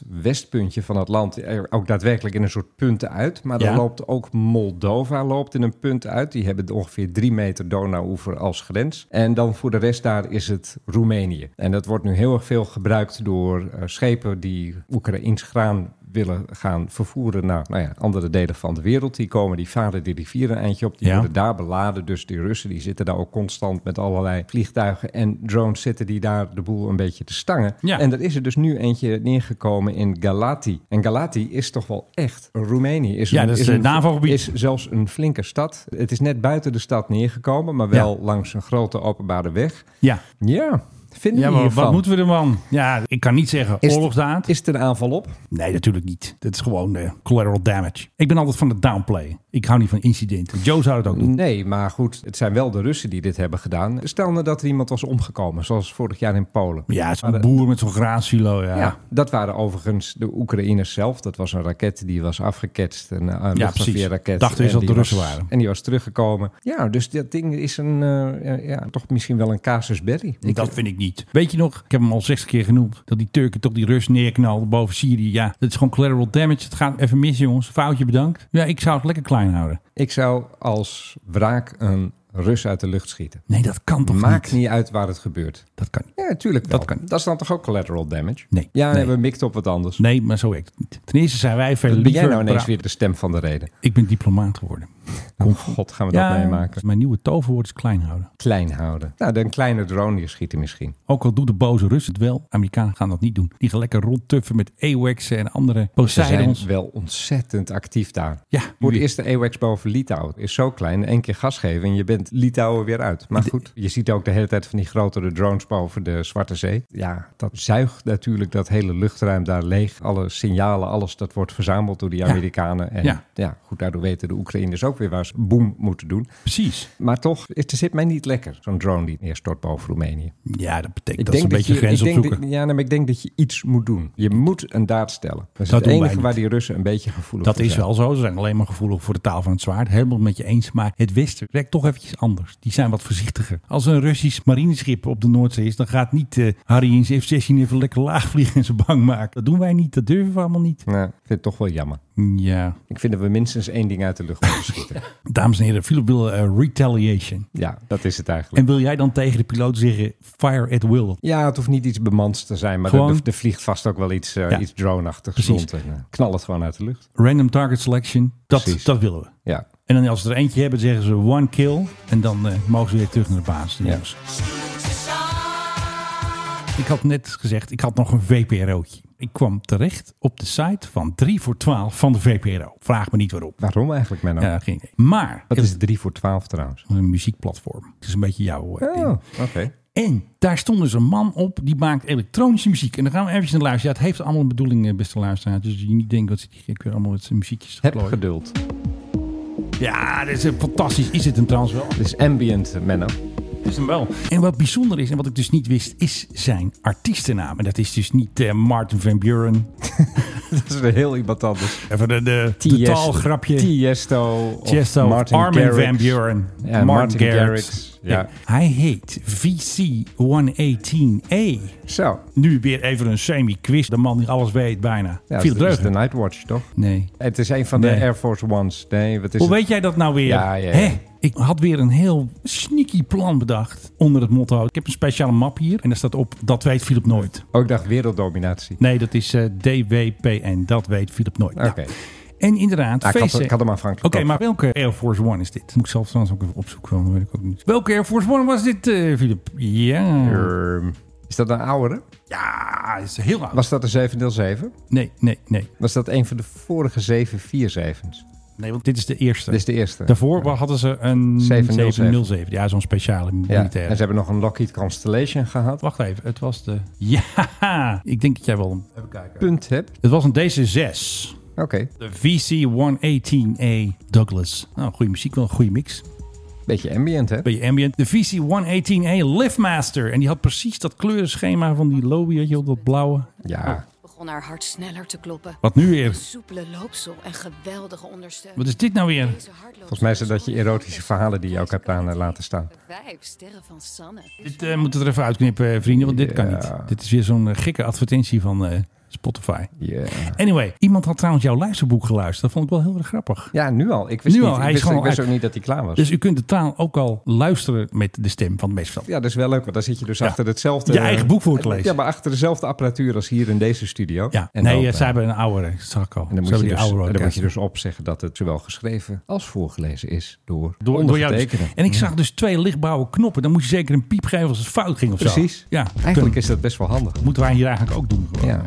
Speaker 7: zuidwestpuntje van het land. er Ook daadwerkelijk in een soort punten uit. Maar
Speaker 6: Ja.
Speaker 7: dan loopt ook Moldova loopt in een punt uit. Die hebben ongeveer drie meter Donauoever als grens. En dan voor de rest daar is het Roemenië. En dat wordt nu heel erg veel gebruikt door eh, schepen die Oekraïns graan willen gaan vervoeren naar nou ja, andere delen van de wereld. Die komen, die varen die rivieren een eindje op, die
Speaker 6: Ja.
Speaker 7: worden daar beladen. Dus die Russen die zitten daar ook constant met allerlei vliegtuigen en drones zitten die daar de boel een beetje te stangen.
Speaker 6: Ja.
Speaker 7: En er is er dus nu eentje neergekomen in Galati. En Galati is toch wel echt Roemenië. Is
Speaker 6: Ja, dat is
Speaker 7: een-
Speaker 6: het NAVO-gebied.
Speaker 7: Is zelfs een flinke stad. Het is net buiten de stad neergekomen, maar wel
Speaker 6: Ja.
Speaker 7: langs een grote openbare weg.
Speaker 6: Ja,
Speaker 7: Ja, vinden
Speaker 6: ja
Speaker 7: we
Speaker 6: maar
Speaker 7: hiervan?
Speaker 6: wat moeten we ervan? Ja, ik kan niet zeggen
Speaker 7: Is-
Speaker 6: oorlogsdaad.
Speaker 7: Is het een aanval op?
Speaker 6: Nee, natuurlijk niet. Dat is gewoon eh, collateral damage. Ik ben altijd van het downplay. Ik hou niet van incidenten. Joe zou het ook doen.
Speaker 7: Nee, maar goed, het zijn wel de Russen die dit hebben gedaan. Stel nou dat er iemand was omgekomen, zoals vorig jaar in Polen.
Speaker 6: Ja,
Speaker 7: Mm. Maar
Speaker 6: zo'n
Speaker 7: dat-
Speaker 6: boer met zo'n graansilo. Ja.
Speaker 7: Ja, dat waren overigens de Oekraïners zelf. Dat was een raket die was afgeketst. Een uh,
Speaker 6: Ja, precies.
Speaker 7: luchtafweerraket.
Speaker 6: Dachten
Speaker 7: En
Speaker 6: eens dat
Speaker 7: die
Speaker 6: de Russen
Speaker 7: was-
Speaker 6: waren.
Speaker 7: En die was teruggekomen. Ja, dus dat ding is een, eh, ja, ja, toch misschien wel een casus belli. Ik-
Speaker 6: dat vind ik niet. Weet je nog, ik heb hem al 60 keer genoemd, dat die Turken toch die Rus neerknalden boven Syrië. Ja, dat is gewoon collateral damage. Het gaat even mis, jongens. Foutje bedankt. Ja, ik zou het lekker klein houden.
Speaker 7: Ik zou als wraak een Rus uit de lucht schieten.
Speaker 6: Nee, dat kan toch
Speaker 7: Maakt
Speaker 6: niet?
Speaker 7: niet uit waar het gebeurt.
Speaker 6: Dat kan niet.
Speaker 7: Ja, natuurlijk wel.
Speaker 6: Dat kan.
Speaker 7: dat is dan toch ook collateral damage?
Speaker 6: Nee.
Speaker 7: Ja,
Speaker 6: Nee.
Speaker 7: we mikt op wat anders.
Speaker 6: Nee, maar zo werkt het niet. Ten eerste zijn wij veel
Speaker 7: Dan ben jij
Speaker 6: liever...
Speaker 7: nou ineens
Speaker 6: bra- Nou,
Speaker 7: weer de stem van de reden.
Speaker 6: Ik ben diplomaat geworden.
Speaker 7: Oh god, gaan we dat meemaken?
Speaker 6: Mijn nieuwe toverwoord is klein houden.
Speaker 7: Klein houden. Nou, een kleine drone hier schieten misschien.
Speaker 6: Ook al doet de boze Rus het wel, Amerikanen gaan dat niet doen. Die gaan lekker rondtuffen met AWACS en andere
Speaker 7: Ze zijn
Speaker 6: Poseidons.
Speaker 7: wel ontzettend actief daar.
Speaker 6: Ja,
Speaker 7: Voor het
Speaker 6: jullie-
Speaker 7: eerst de AWACS boven Litouwen. Is zo klein. Eén keer gas geven en je bent Litouwen weer uit. Maar goed, je ziet ook de hele tijd van die grotere drones boven de Zwarte Zee. Ja, dat zuigt natuurlijk dat hele luchtruim daar leeg. Alle signalen, alles dat wordt verzameld door die
Speaker 6: Ja.
Speaker 7: Amerikanen. En
Speaker 6: Ja.
Speaker 7: ja. goed, daardoor weten de Oekraïners ook weer waar ze boem moeten doen.
Speaker 6: precies.
Speaker 7: Maar toch, het zit mij niet lekker, zo'n drone die neerstort boven Roemenië.
Speaker 6: Ja, dat betekent dat ze een beetje
Speaker 7: je,
Speaker 6: grens
Speaker 7: ik denk
Speaker 6: opzoeken.
Speaker 7: dat- ja, nee, maar ik denk dat je iets moet doen. Je moet een daad stellen. Dat is
Speaker 6: Dat
Speaker 7: het
Speaker 6: doen wij
Speaker 7: enige waar
Speaker 6: niet.
Speaker 7: die Russen een beetje gevoelig
Speaker 6: Dat
Speaker 7: voor
Speaker 6: is
Speaker 7: zijn.
Speaker 6: wel zo. Ze zijn alleen maar gevoelig voor de taal van het zwaard. Helemaal met je eens. Maar het Westen werkt toch eventjes anders. Die zijn wat voorzichtiger. Als er een Russisch marineschip op de Noordzee is, dan gaat niet eh, Harry in zijn F-16 even lekker laag vliegen en ze bang maken. Dat doen wij niet. Dat durven we allemaal niet.
Speaker 7: Nou, ik vind het toch wel jammer.
Speaker 6: Ja.
Speaker 7: Ik vind dat we minstens één ding uit de lucht moeten
Speaker 6: [LAUGHS]
Speaker 7: schieten.
Speaker 6: Dames en heren, Philip wil eh, retaliation.
Speaker 7: ja, dat is het eigenlijk.
Speaker 6: En wil jij dan tegen de piloot zeggen, fire at will?
Speaker 7: Ja, het hoeft niet iets bemans te zijn, maar
Speaker 6: Gewoon-
Speaker 7: er, er vliegt vast ook wel iets, eh
Speaker 6: Ja.
Speaker 7: iets droneachtigs
Speaker 6: Precies.
Speaker 7: rond. En, eh, knal het gewoon uit de lucht.
Speaker 6: Random target selection, dat,
Speaker 7: Precies.
Speaker 6: dat willen we.
Speaker 7: Ja,
Speaker 6: En dan als ze er eentje hebben, zeggen ze one kill. En dan eh, mogen ze weer terug naar de baas. Dus de
Speaker 7: Ja.
Speaker 6: jongens. Ik had net gezegd, ik had nog een VPRO'tje. Ik kwam terecht op de site van 3 voor 12 van de VPRO. Vraag me niet waarom.
Speaker 7: waarom eigenlijk, Menno?
Speaker 6: Ja, geen idee. Maar
Speaker 7: Wat
Speaker 6: het
Speaker 7: is
Speaker 6: is
Speaker 7: 3 voor 12 trouwens?
Speaker 6: een muziekplatform. Het is een beetje jouw eh,
Speaker 7: Oh,
Speaker 6: ding.
Speaker 7: oké.
Speaker 6: En daar stond dus een man op die maakt elektronische muziek. En dan gaan we even naar luisteren. Ja, het heeft allemaal een bedoeling, eh, beste luisteraar. Dus je niet denkt dat ze die gek weer allemaal met zijn muziekjes te
Speaker 7: Heb
Speaker 6: klooien.
Speaker 7: geduld.
Speaker 6: Ja, dit is eh, fantastisch. Is het hem trouwens wel?
Speaker 7: Dit is ambient, eh, Menno. [LAUGHS]
Speaker 6: Is hem wel. En wat bijzonder is, en wat ik dus niet wist, is zijn artiestennaam. En dat is dus niet eh, Martin van Buren.
Speaker 7: dat is een heel iemand anders.
Speaker 6: Even de, de, de
Speaker 7: Tiesto.
Speaker 6: taalgrapje.
Speaker 7: Tiesto. of
Speaker 6: Tiesto,
Speaker 7: Martin
Speaker 6: Armin
Speaker 7: Garrix.
Speaker 6: van Buren.
Speaker 7: Ja, Martin Garrix. Ja.
Speaker 6: Hij heet VC118A.
Speaker 7: Zo.
Speaker 6: Nu weer even een semi-quiz. De man die alles weet bijna.
Speaker 7: Ja,
Speaker 6: Viel
Speaker 7: dat is de
Speaker 6: deugd.
Speaker 7: Nightwatch, toch?
Speaker 6: Nee.
Speaker 7: Het is een van
Speaker 6: Nee.
Speaker 7: de Air Force Ones. Nee, wat is
Speaker 6: Hoe
Speaker 7: het?
Speaker 6: weet jij dat nou weer?
Speaker 7: Ja, ja, ja.
Speaker 6: Hè? Ik had weer een heel sneaky plan bedacht onder het motto. Ik heb een speciale map hier en daar staat op, dat weet Philip nooit.
Speaker 7: Ook dacht werelddominatie. Ah,
Speaker 6: Nee, dat is eh, DWPN. Dat weet Philip nooit.
Speaker 7: Oké.
Speaker 6: Nou, en inderdaad,
Speaker 7: Ah, ik, had,
Speaker 6: VC
Speaker 7: ik had hem aanvankelijk
Speaker 6: Oké,
Speaker 7: ook.
Speaker 6: maar welke Air Force One is dit? Moet ik zelf trouwens ook even opzoeken, want dat weet ik ook niet. Welke Air Force One was dit, eh, Philip? Ja.
Speaker 7: Ehm, Is dat een oudere?
Speaker 6: Ja, is heel oud.
Speaker 7: Was dat een 707?
Speaker 6: Nee, nee, nee.
Speaker 7: Was dat een van de vorige 747's?
Speaker 6: Nee, want dit is de eerste.
Speaker 7: Dit is de eerste.
Speaker 6: Daarvoor hadden ze een
Speaker 7: 707.
Speaker 6: 707. Ja, zo'n
Speaker 7: ja.
Speaker 6: speciale
Speaker 7: En ze
Speaker 6: militaire.
Speaker 7: hebben nog een Lockheed Constellation gehad.
Speaker 6: Wacht even, het was de... [LAUGHS] Ja, ik denk dat jij wel... Even kijken.
Speaker 7: Punt heb.
Speaker 6: Het was een DC-6.
Speaker 7: Oké.
Speaker 6: De VC-118A Douglas. Nou, goede muziek, wel een goede mix.
Speaker 7: Beetje ambient, hè?
Speaker 6: Beetje ambient. De VC-118A Liftmaster. En die had precies dat kleurenschema van die lobby, weet je wel, dat blauwe.
Speaker 7: Ja.
Speaker 6: Oh.
Speaker 9: Begon haar hart sneller te kloppen.
Speaker 6: Wat nu weer?
Speaker 9: Soepele loopsel en geweldige ondersteuning.
Speaker 6: Wat is dit nou weer?
Speaker 7: Volgens mij zijn dat je erotische verhalen die je ook hebt aan eh, laten staan.
Speaker 9: Vijf sterren van Sanne.
Speaker 6: Dit eh moeten we er even uitknippen, eh, vrienden, want dit kan
Speaker 7: Ja.
Speaker 6: niet. Dit is weer zo'n eh, gekke advertentie van eh, Spotify.
Speaker 7: Ja.
Speaker 6: Anyway, iemand had trouwens jouw luisterboek geluisterd. Dat vond ik wel heel erg grappig.
Speaker 7: Ja, nu al. Ik wist,
Speaker 6: Nu
Speaker 7: niet,
Speaker 6: al, hij
Speaker 7: ik
Speaker 6: is
Speaker 7: wist,
Speaker 6: gewoon
Speaker 7: ik wist
Speaker 6: uit.
Speaker 7: ook niet dat hij klaar was.
Speaker 6: Dus u kunt de taal ook al luisteren met de stem van het meestal.
Speaker 7: ja, dat is wel leuk, want dan zit je dus
Speaker 6: Ja.
Speaker 7: achter hetzelfde...
Speaker 6: Je eigen boek voor te lezen.
Speaker 7: Ja, maar achter dezelfde apparatuur als hier in deze studio.
Speaker 6: Ja,
Speaker 7: En
Speaker 6: nee,
Speaker 7: dan,
Speaker 6: eh,
Speaker 7: eh,
Speaker 6: zij hebben een oude, zag ik al.
Speaker 7: En dan,
Speaker 6: Ze
Speaker 7: moet je,
Speaker 6: hebben die
Speaker 7: dus, en
Speaker 6: oude
Speaker 7: dan moet
Speaker 6: roadcast.
Speaker 7: je dus opzeggen dat het zowel geschreven als voorgelezen is door,
Speaker 6: door, door jou. dus-
Speaker 7: ondergetekende.
Speaker 6: En ik zag dus twee lichtblauwe knoppen. Dan moest je zeker een piep geven als het fout ging of
Speaker 7: Precies.
Speaker 6: zo. Ja,
Speaker 7: Eigenlijk is dat best wel handig.
Speaker 6: moeten wij hier eigenlijk ook doen. gewoon.
Speaker 7: Ja.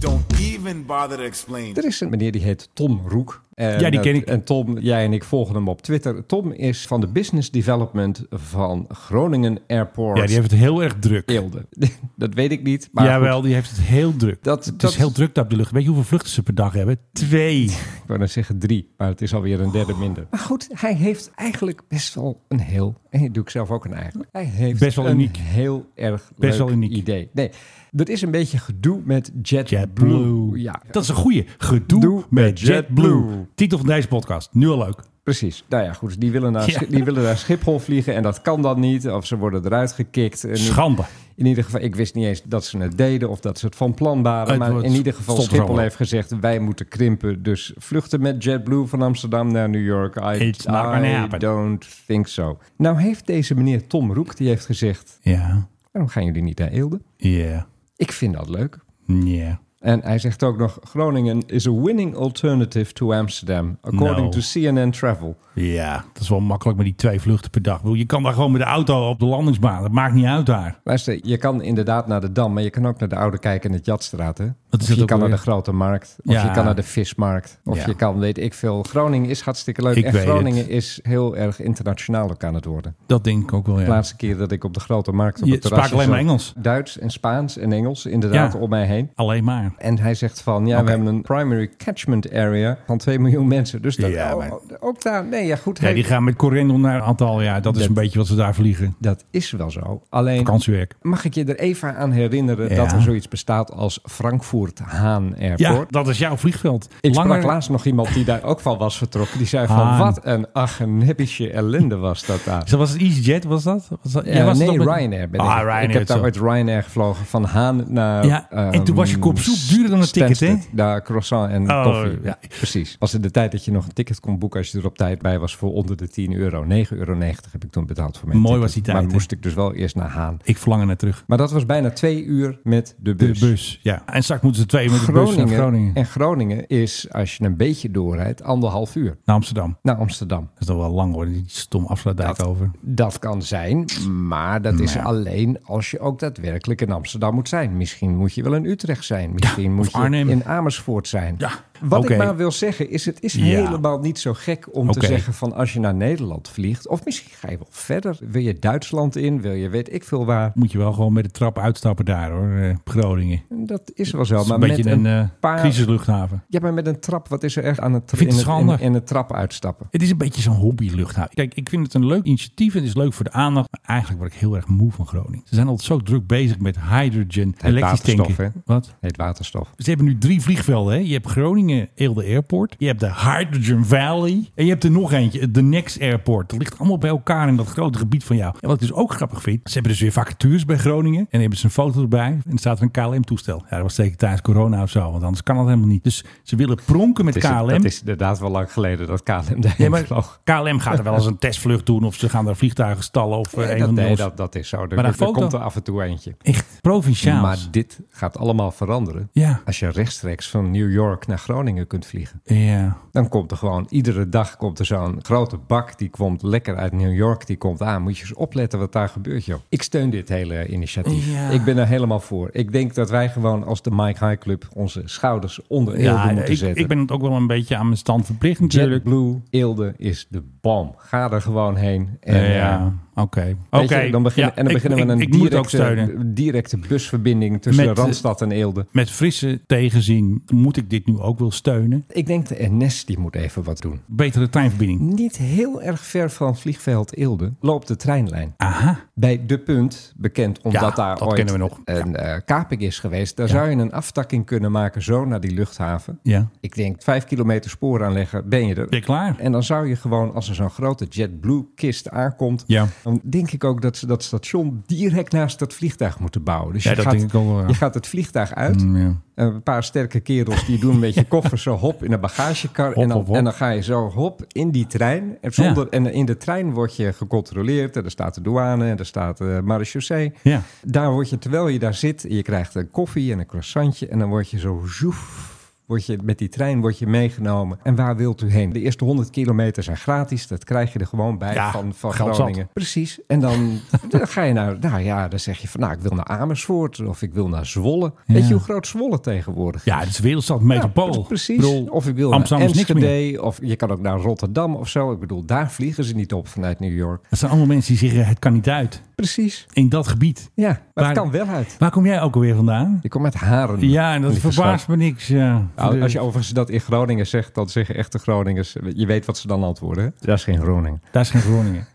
Speaker 1: Don't even bother to explain.
Speaker 7: Er is een meneer die heet Tom Roek. En
Speaker 6: Ja, die ken
Speaker 7: dat-
Speaker 6: ik.
Speaker 7: En Tom, jij en ik volgen hem op Twitter. Tom is van de business development van Groningen Airport.
Speaker 6: Ja, die heeft het heel erg druk.
Speaker 7: Eelde. [LAUGHS] Dat weet ik niet. Maar
Speaker 6: Jawel,
Speaker 7: goed,
Speaker 6: die heeft het heel druk.
Speaker 7: Dat-
Speaker 6: het
Speaker 7: dat-
Speaker 6: is heel druk daar op de lucht. Weet je hoeveel vluchten ze per dag hebben? Twee.
Speaker 7: ik wou dan zeggen drie, maar het is alweer een derde minder. Maar goed, hij heeft eigenlijk best wel een heel... En dat doe ik zelf ook een eigen. Hij heeft
Speaker 6: Best wel
Speaker 7: een
Speaker 6: uniek.
Speaker 7: heel erg
Speaker 6: Best
Speaker 7: leuk
Speaker 6: wel uniek.
Speaker 7: idee. Nee, er is een beetje gedoe met JetBlue.
Speaker 6: JetBlue.
Speaker 7: Ja,
Speaker 6: Dat is een goeie. Gedoe
Speaker 7: Doe
Speaker 6: met
Speaker 7: met
Speaker 6: JetBlue.
Speaker 7: JetBlue.
Speaker 6: Titel van deze podcast. Nu al leuk.
Speaker 7: Precies. Nou ja, goed. Die willen, naar,
Speaker 6: Ja.
Speaker 7: Schi- die willen naar Schiphol vliegen en dat kan dan niet. Of ze worden eruit gekikt. En in,
Speaker 6: Schande.
Speaker 7: in ieder geval, ik wist niet eens dat ze het deden of dat ze het van plan waren.
Speaker 6: Het
Speaker 7: maar
Speaker 6: wordt-
Speaker 7: in ieder geval,
Speaker 6: stond er
Speaker 7: Schiphol
Speaker 6: allemaal.
Speaker 7: heeft gezegd, wij moeten krimpen. Dus vluchten met JetBlue van Amsterdam naar New York. I,
Speaker 6: It's not gonna
Speaker 7: I
Speaker 6: happen.
Speaker 7: don't think so. Nou heeft deze meneer Tom Roek, die heeft gezegd,
Speaker 6: Ja.
Speaker 7: waarom gaan jullie niet naar Eelde?
Speaker 6: Ja.
Speaker 7: Ik vind dat leuk.
Speaker 6: Ja.
Speaker 7: En hij zegt ook nog, Groningen is a winning alternative to Amsterdam, according
Speaker 6: Nou.
Speaker 7: to CNN Travel.
Speaker 6: Ja. Dat is wel makkelijk met die twee vluchten per dag. Ik bedoel, Je kan daar gewoon met de auto op de landingsbaan. Dat maakt niet uit daar.
Speaker 7: Luister, je kan inderdaad naar de Dam, maar je kan ook naar de Oude Kijk en het Jatstraat. Hè?
Speaker 6: Wat is
Speaker 7: Of
Speaker 6: dat
Speaker 7: je
Speaker 6: ook
Speaker 7: kan naar de
Speaker 6: alweer?
Speaker 7: Grote Markt. Of
Speaker 6: Ja.
Speaker 7: je kan naar de Vismarkt. Of
Speaker 6: Ja.
Speaker 7: je kan, weet ik veel. Groningen is hartstikke leuk.
Speaker 6: Ik
Speaker 7: en
Speaker 6: weet
Speaker 7: Groningen
Speaker 6: het.
Speaker 7: is heel erg internationaal ook aan het worden.
Speaker 6: Dat denk ik ook wel,
Speaker 7: De
Speaker 6: ja.
Speaker 7: laatste keer dat ik op de Grote Markt op
Speaker 6: Je
Speaker 7: het terras
Speaker 6: sprak alleen
Speaker 7: zat,
Speaker 6: maar Engels.
Speaker 7: Duits en Spaans en Engels, inderdaad,
Speaker 6: Ja.
Speaker 7: om mij heen.
Speaker 6: Alleen maar.
Speaker 7: En hij zegt van, ja, we hebben een primary catchment area van 2 miljoen mensen. Dus dat,
Speaker 6: Ja,
Speaker 7: oh,
Speaker 6: maar-
Speaker 7: ook daar, nee, ja goed.
Speaker 6: Ja,
Speaker 7: hij-
Speaker 6: die gaan met Corendon naar Antalya. Dat is
Speaker 7: Dat-
Speaker 6: een beetje wat ze daar vliegen.
Speaker 7: Dat is wel zo. Alleen,
Speaker 6: Vakantiewerk.
Speaker 7: Mag ik je er even aan herinneren
Speaker 6: Ja.
Speaker 7: dat er zoiets bestaat als Frankfurt Haan
Speaker 6: Ja,
Speaker 7: Airport?
Speaker 6: dat is jouw vliegveld.
Speaker 7: ik
Speaker 6: Langer-
Speaker 7: sprak laatst nog iemand die daar ook van was vertrokken. Die zei van,
Speaker 6: Haan.
Speaker 7: wat een agenebische ellende was dat daar.
Speaker 6: Dus dat was het EasyJet, was dat? Was dat? jij
Speaker 7: Eh,
Speaker 6: was het
Speaker 7: nee,
Speaker 6: ook met-
Speaker 7: Ryanair ben ik.
Speaker 6: Ah,
Speaker 7: ik
Speaker 6: Ryanair.
Speaker 7: heb daar
Speaker 6: zo.
Speaker 7: met Ryanair gevlogen van Haan naar...
Speaker 6: Ja, en toen was je kop soep
Speaker 7: ehm,
Speaker 6: duurder dan een ticket, hè?
Speaker 7: Stansted. Daar croissant en
Speaker 6: Oh,
Speaker 7: koffie.
Speaker 6: ja.
Speaker 7: Precies. Was in de tijd dat je nog een ticket kon boeken als je er op tijd bij was voor onder de 10 euro. 9,90 euro heb ik toen betaald voor mijn
Speaker 6: Mooi
Speaker 7: ticket.
Speaker 6: was die tijd,
Speaker 7: Maar
Speaker 6: hè?
Speaker 7: moest ik dus wel eerst naar Haan.
Speaker 6: Ik verlang er naar terug.
Speaker 7: Maar dat was bijna twee uur met de
Speaker 6: De
Speaker 7: bus.
Speaker 6: bus. ja. En straks moeten ze twee met de bus
Speaker 7: Groningen,
Speaker 6: naar Groningen.
Speaker 7: En Groningen is, als je een beetje doorrijdt, anderhalf uur
Speaker 6: Naar Amsterdam.
Speaker 7: naar Amsterdam.
Speaker 6: Dat is nog wel lang hoor, die stom afsluitdijk over.
Speaker 7: Dat kan zijn, maar dat is alleen als je ook daadwerkelijk in Amsterdam moet zijn. Misschien moet je wel in Utrecht zijn. Misschien moet
Speaker 6: of
Speaker 7: je
Speaker 6: Arnhem.
Speaker 7: in Amersfoort zijn.
Speaker 6: Ja,
Speaker 7: Wat
Speaker 6: oké.
Speaker 7: ik maar wil zeggen is, het is
Speaker 6: Ja.
Speaker 7: helemaal niet zo gek om
Speaker 6: Oké.
Speaker 7: te zeggen van als je naar Nederland vliegt. Of misschien ga je wel verder. Wil je Duitsland in? Wil je weet ik veel waar?
Speaker 6: Moet je wel gewoon met de trap uitstappen daar hoor, eh, op Groningen.
Speaker 7: Dat is wel zo.
Speaker 6: Dat is
Speaker 7: Maar
Speaker 6: een beetje
Speaker 7: met
Speaker 6: een,
Speaker 7: een
Speaker 6: eh,
Speaker 7: paar...
Speaker 6: crisisluchthaven.
Speaker 7: Ja, maar met een trap. Wat is er echt aan het trap?
Speaker 6: vind het
Speaker 7: in het-
Speaker 6: schande.
Speaker 7: in- in de trap uitstappen.
Speaker 6: Het is een beetje zo'n hobbyluchthaven. Kijk, ik vind het een leuk initiatief. Het is leuk voor de aandacht. Maar eigenlijk word ik heel erg moe van Groningen. Ze zijn altijd zo druk bezig met hydrogen, elektrisch
Speaker 7: waterstof,
Speaker 6: tanken.
Speaker 7: hè?
Speaker 6: Wat?
Speaker 7: Heet waterstof.
Speaker 6: Ze hebben nu drie vliegvelden. Hè? Je hebt Groningen Eelde Airport. Je hebt de Hydrogen Valley. En je hebt er nog eentje, de Next Airport. Dat ligt allemaal bij elkaar in dat grote gebied van jou. En wat ik dus ook grappig vind, ze hebben dus weer vacatures bij Groningen. En dan hebben ze een foto erbij. En er staat er een KLM-toestel. Ja, dat was zeker tijdens corona of zo. Want anders kan dat helemaal niet. Dus ze willen pronken met
Speaker 7: Het is,
Speaker 6: KLM.
Speaker 7: Dat is inderdaad wel lang geleden dat KLM daarheen
Speaker 6: Ja, maar
Speaker 7: vloog.
Speaker 6: KLM gaat er wel eens een testvlucht doen. Of ze gaan daar vliegtuigen stallen. Of eh,
Speaker 7: Nee,
Speaker 6: een
Speaker 7: dat,
Speaker 6: van de
Speaker 7: nee,
Speaker 6: ons-
Speaker 7: dat, dat is zo. Er,
Speaker 6: Maar een
Speaker 7: er
Speaker 6: foto-
Speaker 7: komt er af en toe eentje.
Speaker 6: Echt provinciaals.
Speaker 7: Maar dit gaat allemaal veranderen.
Speaker 6: Ja.
Speaker 7: Als je rechtstreeks van New York naar Groningen kunt vliegen.
Speaker 6: Ja.
Speaker 7: Dan komt er gewoon, iedere dag komt er zo'n grote bak. Die komt lekker uit New York, die komt aan. Moet je eens opletten wat daar gebeurt, joh. Ik steun dit hele initiatief.
Speaker 6: Ja.
Speaker 7: Ik ben er helemaal voor. Ik denk dat wij gewoon als de Mike High Club onze schouders onder Eelde moeten
Speaker 6: ik,
Speaker 7: zetten.
Speaker 6: ik ben het ook wel een beetje aan mijn stand verplicht natuurlijk.
Speaker 7: JetBlue, Eelde is de bom. Ga er gewoon heen. En,
Speaker 6: Eh,
Speaker 7: eh,
Speaker 6: ja, oké.
Speaker 7: Weet
Speaker 6: Oké.
Speaker 7: je, dan beginnen,
Speaker 6: Ja,
Speaker 7: en dan
Speaker 6: ik-
Speaker 7: beginnen we
Speaker 6: ik-
Speaker 7: een
Speaker 6: ik moet ook steunen.
Speaker 7: directe, directe busverbinding tussen
Speaker 6: Met-
Speaker 7: Randstad en Eelde.
Speaker 6: Met frisse tegenzin moet ik dit nu ook wel steunen.
Speaker 7: Ik denk de NS die moet even wat doen.
Speaker 6: Betere treinverbinding.
Speaker 7: Niet heel erg ver van vliegveld Eelde loopt de treinlijn.
Speaker 6: Aha.
Speaker 7: Bij De Punt, bekend omdat
Speaker 6: Ja,
Speaker 7: daar
Speaker 6: dat
Speaker 7: ooit
Speaker 6: kennen we nog.
Speaker 7: een eh, kaping is geweest. Daar
Speaker 6: Ja.
Speaker 7: zou je een aftakking kunnen maken zo naar die luchthaven.
Speaker 6: Ja.
Speaker 7: Ik denk vijf kilometer spoor aanleggen, ben je er.
Speaker 6: Ben je klaar?
Speaker 7: En dan zou je gewoon, als er zo'n grote JetBlue-kist aankomt...
Speaker 6: Ja.
Speaker 7: dan denk ik ook dat ze dat station direct naast dat vliegtuig moeten bouwen. Dus
Speaker 6: Ja,
Speaker 7: je,
Speaker 6: dat
Speaker 7: gaat,
Speaker 6: denk ik ook wel, ja.
Speaker 7: je gaat het vliegtuig uit. Eh,
Speaker 6: Mm, ja.
Speaker 7: Een paar sterke kerels die doen met
Speaker 6: [LAUGHS]
Speaker 7: je [LAUGHS] koffers zo hop in een bagagekar.
Speaker 6: Hop,
Speaker 7: en, dan,
Speaker 6: hop, hop.
Speaker 7: en dan ga je zo hop in die trein. En, zonder,
Speaker 6: Ja.
Speaker 7: en in de trein word je gecontroleerd. En er staat de douane en er staat de marechaussee.
Speaker 6: Ja.
Speaker 7: Daar word je, terwijl je daar zit, je krijgt een koffie en een croissantje. En dan word je zo zoef. Word je, met die trein word je meegenomen. En waar wilt u heen? De eerste 100 kilometer zijn gratis. Dat krijg je er gewoon bij
Speaker 6: Ja,
Speaker 7: van, van
Speaker 6: geld zat.
Speaker 7: Groningen. Precies. En dan, [LAUGHS] dan ga je naar, nou ja, dan zeg je van, nou, ik wil naar Amersfoort of ik wil naar Zwolle. Weet je hoe groot Zwolle tegenwoordig is?
Speaker 6: Ja, het is wereldstad, metropool.
Speaker 7: Ja, precies.
Speaker 6: Ik bedoel,
Speaker 7: of ik wil
Speaker 6: Amsterdam
Speaker 7: naar
Speaker 6: is niks meer.
Speaker 7: Enschede, of je kan ook naar Rotterdam of zo. Ik bedoel, daar vliegen ze niet op vanuit New York.
Speaker 6: Dat zijn allemaal mensen die zeggen, het kan niet uit.
Speaker 7: Precies.
Speaker 6: In dat gebied.
Speaker 7: Ja, maar
Speaker 6: Waar-
Speaker 7: het kan wel uit.
Speaker 6: Waar kom jij ook alweer vandaan?
Speaker 7: Je komt uit Haren.
Speaker 6: Ja, en dat
Speaker 7: Lieve
Speaker 6: verbaast
Speaker 7: schat.
Speaker 6: me niks. Ja.
Speaker 7: Nou, als je overigens dat in Groningen zegt, dan zeggen echte Groningers, je weet wat ze dan antwoorden. hè? Dat is geen Groningen.
Speaker 6: Daar is geen
Speaker 7: [LAUGHS]
Speaker 6: Groningen.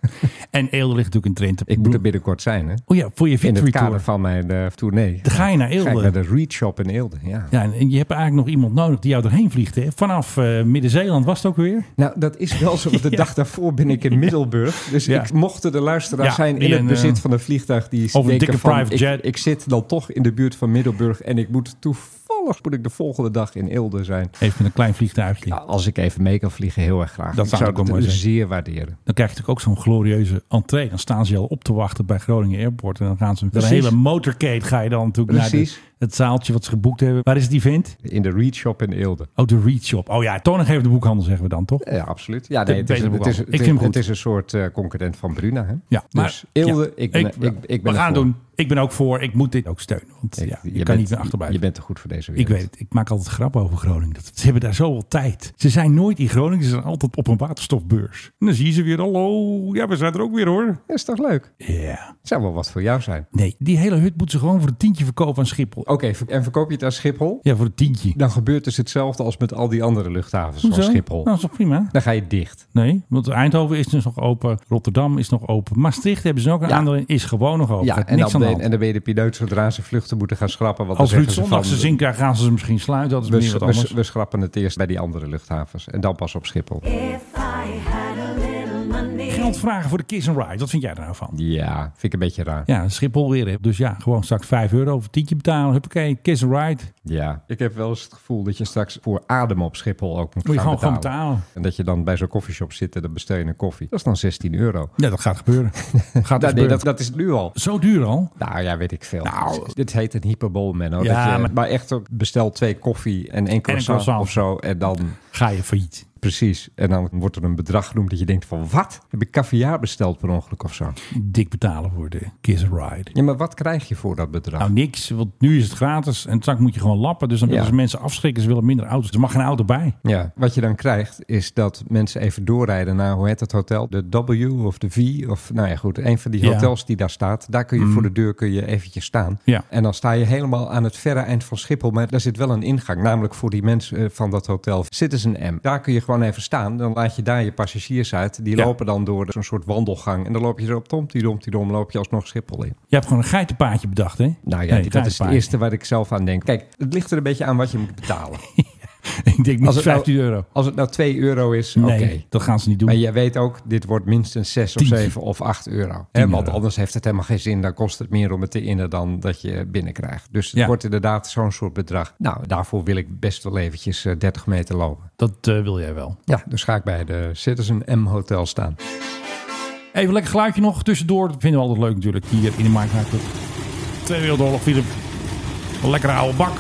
Speaker 6: en Eelde ligt natuurlijk in Trent.
Speaker 7: Ik moet er binnenkort zijn, hè?
Speaker 6: Oh ja, voor je
Speaker 7: In het
Speaker 6: victory
Speaker 7: kader
Speaker 6: tour.
Speaker 7: van mijn eh, tournee.
Speaker 6: Dan ga je naar
Speaker 7: Ga ik
Speaker 6: Eelde.
Speaker 7: naar de Read Shop in Eelde, ja.
Speaker 6: Ja, en- en je hebt eigenlijk nog iemand nodig die jou erheen vliegt. Hè? Vanaf eh, Midden-Zeeland was het ook weer.
Speaker 7: Nou, dat is wel zo.
Speaker 6: [LAUGHS]
Speaker 7: Want de dag daarvoor ben ik in Middelburg. Dus
Speaker 6: Ja.
Speaker 7: ik mochten de luisteraar
Speaker 6: Ja,
Speaker 7: zijn
Speaker 6: die
Speaker 7: in het
Speaker 6: een,
Speaker 7: bezit
Speaker 6: eh,
Speaker 7: van een vliegtuig. Die
Speaker 6: een
Speaker 7: denken
Speaker 6: dikke
Speaker 7: van,
Speaker 6: private
Speaker 7: ik,
Speaker 6: jet.
Speaker 7: Ik zit dan toch in de buurt van Middelburg. En ik moet toevallig moet ik de volgende dag in Eelde zijn.
Speaker 6: Even met een klein vliegtuigje.
Speaker 7: Ja, als ik even mee kan vliegen, heel erg graag.
Speaker 6: Dat
Speaker 7: ik
Speaker 6: zou
Speaker 7: zou
Speaker 6: ook wel
Speaker 7: dat
Speaker 6: mooi zijn.
Speaker 7: zeer waarderen.
Speaker 6: Dan krijg je natuurlijk ook zo'n glorieuze entree. Dan staan ze je al op te wachten bij Groningen Airport. En dan gaan ze met een
Speaker 7: Precies.
Speaker 6: hele motorcade ga je dan natuurlijk
Speaker 7: Precies.
Speaker 6: naar de- het zaaltje wat ze geboekt hebben. Waar is het event?
Speaker 7: In de Read Shop in Eelde.
Speaker 6: Oh, de Read Shop. Oh ja, toon nog even de boekhandel zeggen we dan, toch?
Speaker 7: Ja, absoluut. Ja,
Speaker 6: De
Speaker 7: nee, het, is,
Speaker 6: betere
Speaker 7: het, is,
Speaker 6: boekhandel.
Speaker 7: het,
Speaker 6: Ik
Speaker 7: is-
Speaker 6: vind hem
Speaker 7: het
Speaker 6: goed.
Speaker 7: is een soort eh, concurrent van Bruna. Hè?
Speaker 6: Ja,
Speaker 7: dus Eelde,
Speaker 6: ja,
Speaker 7: ik ben, ik, ik, ben
Speaker 6: We gaan het
Speaker 7: ervoor.
Speaker 6: doen. Ik ben ook voor. Ik moet dit ook steunen. Want
Speaker 7: Ik-
Speaker 6: ja, je, kan
Speaker 7: bent-
Speaker 6: niet meer achterblijven.
Speaker 7: Je bent te goed voor deze
Speaker 6: Ik
Speaker 7: wereld.
Speaker 6: weet het. Ik maak altijd grappen over Groningen. Dat, ze hebben daar zoveel tijd. Ze zijn nooit in Groningen. Ze zijn altijd op een waterstofbeurs. En dan zie je ze weer. Hallo. Ja, we zijn er ook weer hoor.
Speaker 7: Dat is toch leuk?
Speaker 6: Ja.
Speaker 7: Het zou wel wat voor jou zijn.
Speaker 6: Nee, die hele hut moet ze gewoon voor een tientje verkopen aan Schiphol.
Speaker 7: Oké, en verkoop je het aan Schiphol?
Speaker 6: Ja, voor een tientje.
Speaker 7: Dan gebeurt dus hetzelfde als met al die andere luchthavens van
Speaker 6: Hoezo?
Speaker 7: Schiphol.
Speaker 6: Nou, dat is toch prima?
Speaker 7: Dan ga je dicht.
Speaker 6: Nee, want Eindhoven is dus nog open. Rotterdam is nog open. Maastricht hebben ze ook een
Speaker 7: Ja.
Speaker 6: aandeel in. Is gewoon nog open. Ja,
Speaker 7: en,
Speaker 6: Oh, niks
Speaker 7: dan
Speaker 6: aan de
Speaker 7: ben,
Speaker 6: hand.
Speaker 7: en dan ben je de piloot zodra ze vluchten moeten gaan schrappen. Want dan
Speaker 6: Als Ruud
Speaker 7: zeggen ze
Speaker 6: Zondag ze
Speaker 7: van, eh,
Speaker 6: zin krijgt, gaan ze ze misschien sluiten. Dat is
Speaker 7: we,
Speaker 6: meer wat
Speaker 7: we,
Speaker 6: anders.
Speaker 7: we schrappen het eerst bij die andere luchthavens. En dan pas op Schiphol.
Speaker 6: Geld vragen voor de Kiss and Ride. Wat vind jij daar nou van?
Speaker 7: Ja, vind ik een beetje raar. Ja.
Speaker 6: Ja, Schiphol weer. hè. Dus ja, gewoon straks 5 euro of een tientje betalen. Huppakee, Kiss and Ride.
Speaker 7: Ik heb wel eens het gevoel dat je straks voor adem op Schiphol ook moet
Speaker 6: Moet je
Speaker 7: gaan
Speaker 6: gewoon gaan
Speaker 7: betalen.
Speaker 6: betalen.
Speaker 7: En dat je dan bij zo'n koffieshop zit en dan bestel je een koffie. Dat is dan 16 euro.
Speaker 6: Ja, dat gaat
Speaker 7: [LAUGHS]
Speaker 6: gebeuren. gaat
Speaker 7: Nou, nee,
Speaker 6: gebeuren.
Speaker 7: dat, dat is nu al.
Speaker 6: Zo duur al.
Speaker 7: Nou ja, weet ik veel. Dus
Speaker 6: Nou.
Speaker 7: dit heet een hyperbol, Menno.
Speaker 6: Ja,
Speaker 7: dat je,
Speaker 6: maar-
Speaker 7: maar, echt ook bestel twee koffie en één croissant,
Speaker 6: croissant.
Speaker 7: of zo. En dan,
Speaker 6: Ga je failliet.
Speaker 7: precies, en dan wordt er een bedrag genoemd dat je denkt van... Wat? Heb ik caviar besteld per ongeluk of zo?
Speaker 6: Dik betalen voor de Kiss and Ride.
Speaker 7: Ja, maar wat krijg je voor dat bedrag?
Speaker 6: Nou, niks. Want nu is het gratis. En straks moet je gewoon lappen. Dus dan willen
Speaker 7: Ja.
Speaker 6: ze mensen afschrikken. Ze willen minder auto's. Er mag geen auto bij.
Speaker 7: ja, wat je dan krijgt is dat mensen even doorrijden naar, hoe heet dat hotel? De W of de V of, nou ja goed, een van die
Speaker 6: Ja. Mm.
Speaker 7: hotels die daar staat. Daar kun je voor de deur kun je eventjes staan.
Speaker 6: Ja.
Speaker 7: En dan sta je helemaal aan het verre eind van Schiphol. Maar daar zit wel een ingang. Namelijk voor die mensen eh, van dat hotel Citizen M. Daar kun je gewoon even staan. Dan laat je daar je passagiers uit. Die
Speaker 6: Ja.
Speaker 7: lopen dan door zo'n soort wandelgang. En dan loop je zo op tomtidom, loop je alsnog Schiphol in.
Speaker 6: Je hebt gewoon een geitenpaadje bedacht, hè?
Speaker 7: Nou ja,
Speaker 6: Nee,
Speaker 7: dat is het
Speaker 6: geitenpaadje.
Speaker 7: eerste waar ik zelf aan denk. Kijk, het ligt er een beetje aan wat je moet betalen.
Speaker 6: [LAUGHS] Ik denk niet 15
Speaker 7: nou,
Speaker 6: euro.
Speaker 7: Als het nou 2 euro is,
Speaker 6: Nee,
Speaker 7: oké.
Speaker 6: dat gaan ze niet doen.
Speaker 7: Maar jij weet ook, dit wordt minstens 6 of
Speaker 6: Tientje.
Speaker 7: 7 of 8 euro. Hè,
Speaker 6: Tien
Speaker 7: want
Speaker 6: euro.
Speaker 7: anders heeft het helemaal geen zin. Dan kost het meer om het te innen dan dat je binnenkrijgt. Dus het
Speaker 6: Ja.
Speaker 7: wordt inderdaad zo'n soort bedrag. Nou, daarvoor wil ik best wel eventjes eh, 30 meter lopen.
Speaker 6: Dat eh, wil jij wel.
Speaker 7: Ja, dus ga ik bij de Citizen M Hotel staan.
Speaker 6: Even lekker geluidje nog tussendoor. Dat vinden we altijd leuk natuurlijk hier in de Minecraft Club. Tweede Wereldoorlog, Philip. Een lekkere oude bak.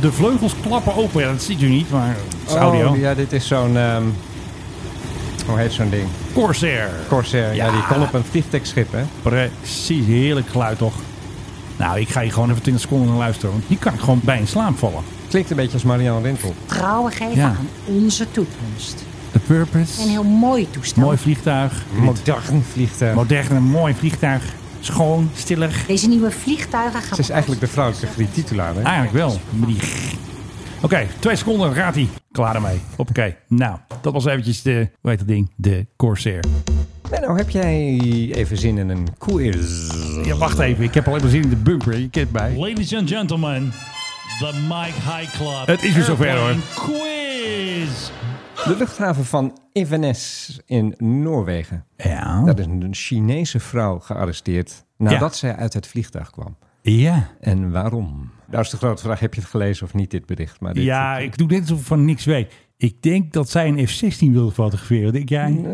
Speaker 6: De vleugels klappen open. Ja, dat ziet u niet, maar het is audio.
Speaker 7: Oh, ja, dit is zo'n... ehm, hoe heet zo'n ding?
Speaker 6: Corsair.
Speaker 7: Corsair. Ja.
Speaker 6: Ja.
Speaker 7: die kon op een vliegtuigschip, hè?
Speaker 6: Precies, heerlijk geluid toch. Nou, ik ga hier gewoon even 20 seconden naar luisteren. Want hier kan ik gewoon bij in slaap vallen.
Speaker 7: Klinkt een beetje als Marianne Rintel.
Speaker 3: Trouwen geven
Speaker 6: Ja.
Speaker 3: aan onze toekomst.
Speaker 6: The Purpose.
Speaker 3: Een heel mooi toestel.
Speaker 6: Mooi vliegtuig.
Speaker 7: Modern vliegtuig.
Speaker 6: Modern, een mooi vliegtuig. Schoon, stillig.
Speaker 3: Deze nieuwe vliegtuigen gaan...
Speaker 7: Ze is eigenlijk de vrouwelijke gebiedtitulaar, hè?
Speaker 6: Eigenlijk wel. Maar die... Oké, twee seconden, gaat hij. Klaar ermee. Hoppakee. Nou, dat was eventjes de, hoe heet dat ding? De Corsair.
Speaker 7: Nou, heb jij even zin in een quiz?
Speaker 6: Ja, wacht even. Ik heb al even zin in de bumper. Je kent mij.
Speaker 10: Ladies and gentlemen, the Mike High Club.
Speaker 6: Het is weer zover,
Speaker 10: Airplane
Speaker 6: hoor.
Speaker 10: Quiz.
Speaker 7: De luchthaven van Evenes in Noorwegen.
Speaker 6: Ja.
Speaker 7: Daar is een Chinese vrouw gearresteerd nadat
Speaker 6: Oh. Ja.
Speaker 7: zij uit het vliegtuig kwam.
Speaker 6: Ja.
Speaker 7: En waarom? Nou is de grote vraag, heb je het gelezen of niet dit bericht? Maar dit,
Speaker 6: Ja, [LAUGHS] ik doe net alsof ik van niks weet. Ik denk dat zij een F-16 wil fotograferen. Denk jij?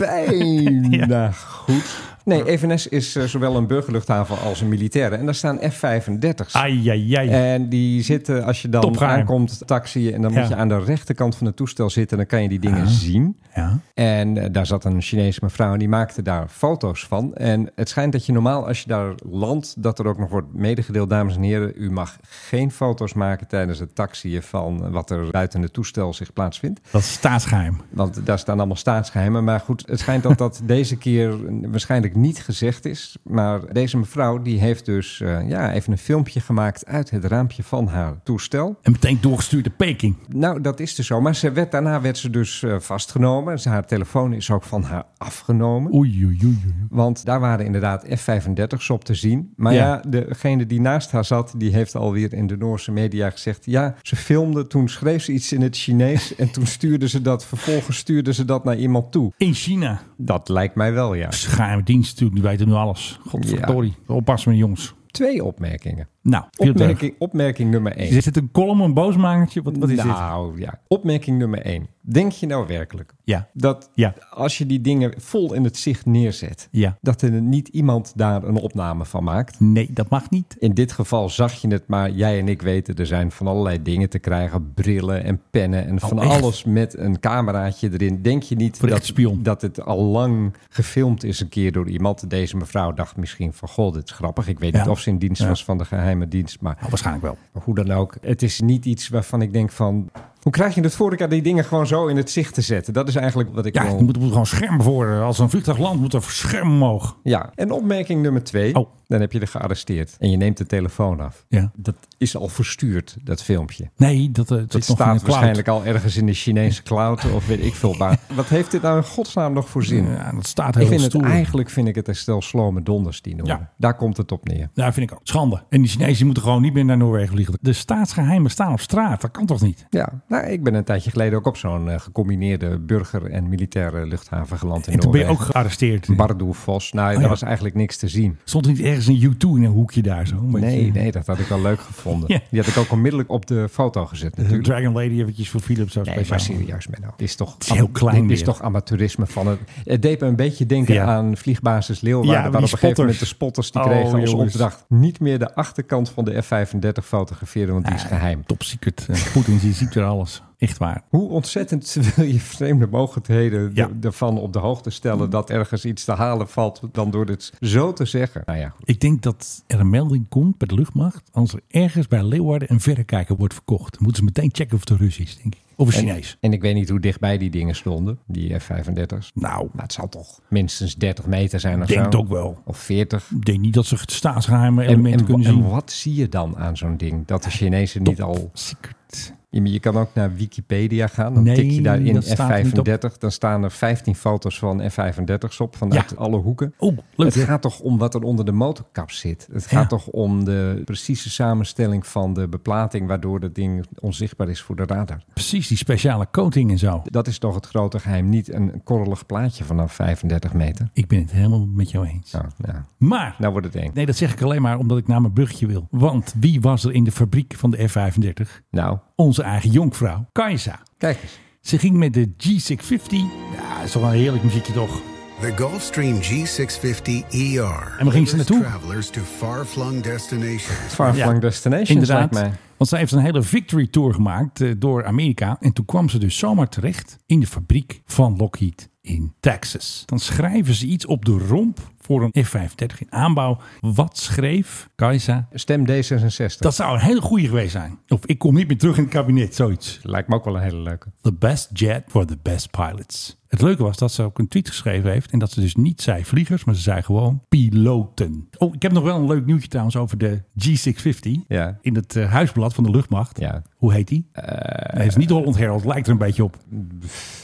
Speaker 7: Eh, bijna goed. Nee, Evenes is eh, zowel een burgerluchthaven als een militaire. En daar staan F-35's.
Speaker 6: Ai, ai, ai.
Speaker 7: En die zitten, als je dan
Speaker 6: Topgeheim.
Speaker 7: aankomt, taxiën. En dan
Speaker 6: Ja. Ah.
Speaker 7: moet je aan de rechterkant van het toestel zitten. En dan kan je die dingen zien.
Speaker 6: Ja.
Speaker 7: En eh, daar zat een Chinese mevrouw en die maakte daar foto's van. En het schijnt dat je normaal als je daar landt, dat er ook nog wordt medegedeeld, dames en heren, u mag geen foto's maken tijdens het taxiën van wat er buiten het toestel zich plaatsvindt.
Speaker 6: Dat is staatsgeheim.
Speaker 7: Want daar staan allemaal staatsgeheimen. Maar goed, het schijnt dat dat deze keer waarschijnlijk niet gezegd is. Maar deze mevrouw die heeft dus eh, ja, even een filmpje gemaakt uit het raampje van haar toestel.
Speaker 6: En meteen doorgestuurd naar Peking.
Speaker 7: Nou, dat is dus zo. Maar ze werd, daarna werd ze dus eh, vastgenomen. Ze- Haar telefoon is ook van haar afgenomen.
Speaker 6: Oei, oei, oei. oei.
Speaker 7: Want daar waren inderdaad F-35's op te zien. Maar ja.
Speaker 6: Ja.
Speaker 7: degene die naast haar zat, die heeft alweer in de Noorse media gezegd... ja, ze filmde, toen schreef ze iets in het Chinees... [LAUGHS] en toen stuurde ze dat, vervolgens stuurde ze dat naar iemand toe.
Speaker 6: In China.
Speaker 7: Dat lijkt mij wel, ja.
Speaker 6: Geheime dienst natuurlijk. Die weten nu alles. Godverdorie. Oppassen met die jongens.
Speaker 7: Twee opmerkingen.
Speaker 6: Nou, Opmerking.
Speaker 7: Opmerking, opmerking nummer één.
Speaker 6: Is dit een column, een boosmakertje? Wat, wat is dit?
Speaker 7: nou, ja. Opmerking nummer één. Denk je nou werkelijk
Speaker 6: Ja.
Speaker 7: dat
Speaker 6: Ja.
Speaker 7: als je die dingen vol in het zicht neerzet...
Speaker 6: Ja.
Speaker 7: dat er niet iemand daar een opname van maakt?
Speaker 6: Nee, dat mag niet.
Speaker 7: In dit geval zag je het, maar jij en ik weten, er zijn van allerlei dingen te krijgen. Brillen en pennen en van
Speaker 6: Oh, echt?
Speaker 7: alles met een cameraatje erin. Denk je niet
Speaker 6: Voor de
Speaker 7: dat,
Speaker 6: echte spion.
Speaker 7: dat het al lang gefilmd is een keer door iemand? Deze mevrouw dacht misschien van, goh, dit is grappig. Ik weet
Speaker 6: Ja.
Speaker 7: niet of ze in dienst
Speaker 6: Ja.
Speaker 7: was van de geheime dienst, maar
Speaker 6: Nou, waarschijnlijk wel.
Speaker 7: hoe dan ook. Het is niet iets waarvan ik denk van, hoe krijg je het voor elkaar die dingen gewoon zo in het zicht te zetten? Dat is eigenlijk wat ik
Speaker 6: Ja,
Speaker 7: wil-
Speaker 6: er moet, moet gewoon scherm voor. Als een vliegtuig landt, moet er scherm omhoog.
Speaker 7: Ja, en opmerking nummer twee.
Speaker 6: Oh.
Speaker 7: Dan heb je er gearresteerd en je neemt de telefoon af.
Speaker 6: Ja.
Speaker 7: Dat is al verstuurd, dat filmpje.
Speaker 6: Nee, dat, eh, dat
Speaker 7: Het
Speaker 6: is nog in de
Speaker 7: staat
Speaker 6: cloud.
Speaker 7: waarschijnlijk al ergens in de Chinese cloud of weet ik veel. Maar [LAUGHS] wat heeft dit nou in godsnaam nog voor zin?
Speaker 6: Ja, dat staat heel
Speaker 7: ik vind het,
Speaker 6: stoer.
Speaker 7: eigenlijk vind ik het herstel slome donders die noemen.
Speaker 6: Ja.
Speaker 7: Daar komt het op neer.
Speaker 6: Ja, vind ik ook. Schande. En die Chinezen moeten gewoon niet meer naar Noorwegen vliegen. De staatsgeheimen staan op straat. Dat kan toch niet?
Speaker 7: Ja, nou, ik ben een tijdje geleden ook op zo'n eh, gecombineerde burger- en militaire luchthaven geland in
Speaker 6: En toen ben je ook
Speaker 7: Noorwegen.
Speaker 6: gearresteerd.
Speaker 7: Bardufoss. Nou, daar
Speaker 6: ja.
Speaker 7: was eigenlijk niks te zien.
Speaker 6: Stond er niet ergens een U2 in een hoekje daar zo? Een beetje-
Speaker 7: Nee, nee, dat had ik wel leuk [LAUGHS] gevonden.
Speaker 6: Ja.
Speaker 7: Die had ik ook onmiddellijk op de foto gezet
Speaker 6: De
Speaker 7: natuurlijk.
Speaker 6: Dragon Lady eventjes voor Philips. Zo
Speaker 7: Nee, maar
Speaker 6: speciaal.
Speaker 7: serieus, Menno. Dit is toch,
Speaker 6: is heel klein
Speaker 7: dit is
Speaker 6: weer.
Speaker 7: toch amateurisme van het... Het deed me een beetje denken
Speaker 6: Ja.
Speaker 7: aan vliegbasis Leeuwarden...
Speaker 6: Ja,
Speaker 7: waar
Speaker 6: die
Speaker 7: op een gegeven moment de
Speaker 6: spotters.
Speaker 7: spotters die
Speaker 6: Oh,
Speaker 7: kregen als
Speaker 6: jongens.
Speaker 7: opdracht... niet meer de achterkant van de F-35 fotograferen, want die
Speaker 6: Ah.
Speaker 7: is geheim.
Speaker 6: Top [LAUGHS] secret. En Poetin die ziet weer alles. Echt waar.
Speaker 7: Hoe ontzettend [LAUGHS] wil je vreemde mogelijkheden
Speaker 6: Ja. Mm.
Speaker 7: d- ervan op de hoogte stellen... dat ergens iets te halen valt dan door dit zo te zeggen? Nou ja, goed.
Speaker 6: Ik denk dat er een melding komt bij de luchtmacht. Als er ergens bij Leeuwarden een verrekijker wordt verkocht. Dan moeten ze meteen checken of het een Rus is, denk ik. Of een
Speaker 7: En,
Speaker 6: Chinees.
Speaker 7: en ik weet niet hoe dichtbij die dingen stonden, die F-35's.
Speaker 6: Nou,
Speaker 7: Maar het zal toch minstens 30 meter zijn of
Speaker 6: Denk
Speaker 7: zo.
Speaker 6: het ook wel.
Speaker 7: Of 40.
Speaker 6: ik denk niet dat ze het staatsgeheimen
Speaker 7: En,
Speaker 6: elementen
Speaker 7: en wa-
Speaker 6: kunnen
Speaker 7: en
Speaker 6: zien.
Speaker 7: wat zie je dan aan zo'n ding? Dat de Chinezen niet al...
Speaker 6: Secret.
Speaker 7: Je je kan ook naar Wikipedia gaan. Dan
Speaker 6: Nee,
Speaker 7: tik je daar in
Speaker 6: dat staat er niet op.
Speaker 7: F35. Dan staan er 15 foto's van F35's op vanuit
Speaker 6: Ja.
Speaker 7: alle hoeken.
Speaker 6: Oh, leuk.
Speaker 7: Het
Speaker 6: hè?
Speaker 7: gaat toch om wat er onder de motorkap zit. Het gaat toch om de precieze samenstelling van de beplating... waardoor dat ding onzichtbaar is voor de radar.
Speaker 6: Precies, die speciale coating en zo.
Speaker 7: Dat is toch het grote geheim. Niet een korrelig plaatje vanaf 35 meter.
Speaker 6: Ik ben het helemaal met jou eens.
Speaker 7: Nou, nou,
Speaker 6: Maar,
Speaker 7: nou wordt het eng.
Speaker 6: nee, dat zeg ik alleen maar omdat ik naar mijn brugje wil. Want wie was er in de fabriek van de F-35?
Speaker 7: Nou,
Speaker 6: Onze eigen jonkvrouw, Kajsa.
Speaker 7: kijk eens.
Speaker 6: Ze ging met de G650. Ja, dat is toch wel een heerlijk muziekje toch?
Speaker 11: The Gulfstream G650 ER.
Speaker 6: En waar ging ze naartoe?
Speaker 11: Travelers to far-flung destinations.
Speaker 7: Far-flung destinations,
Speaker 6: inderdaad.
Speaker 7: lijkt mij.
Speaker 6: Want zij heeft een hele victory tour gemaakt eh, door Amerika. En toen kwam ze dus zomaar terecht in de fabriek van Lockheed in Texas. Dan schrijven ze iets op de romp voor een F-35 in aanbouw. Wat schreef Kajsa?
Speaker 7: Stem D66.
Speaker 6: Dat zou een hele goede geweest zijn. Of ik kom niet meer terug in het kabinet, zoiets.
Speaker 7: Lijkt me ook wel een hele leuke.
Speaker 6: The best jet for the best pilots. Het leuke was dat ze ook een tweet geschreven heeft. En dat ze dus niet zei vliegers, maar ze zei gewoon piloten. Oh, ik heb nog wel een leuk nieuwtje trouwens over de G650.
Speaker 7: Ja.
Speaker 6: In het eh, huisblad van de luchtmacht.
Speaker 7: Ja. Eh,
Speaker 6: Hoe heet die? Hij is niet Holland Herald, lijkt er een beetje op.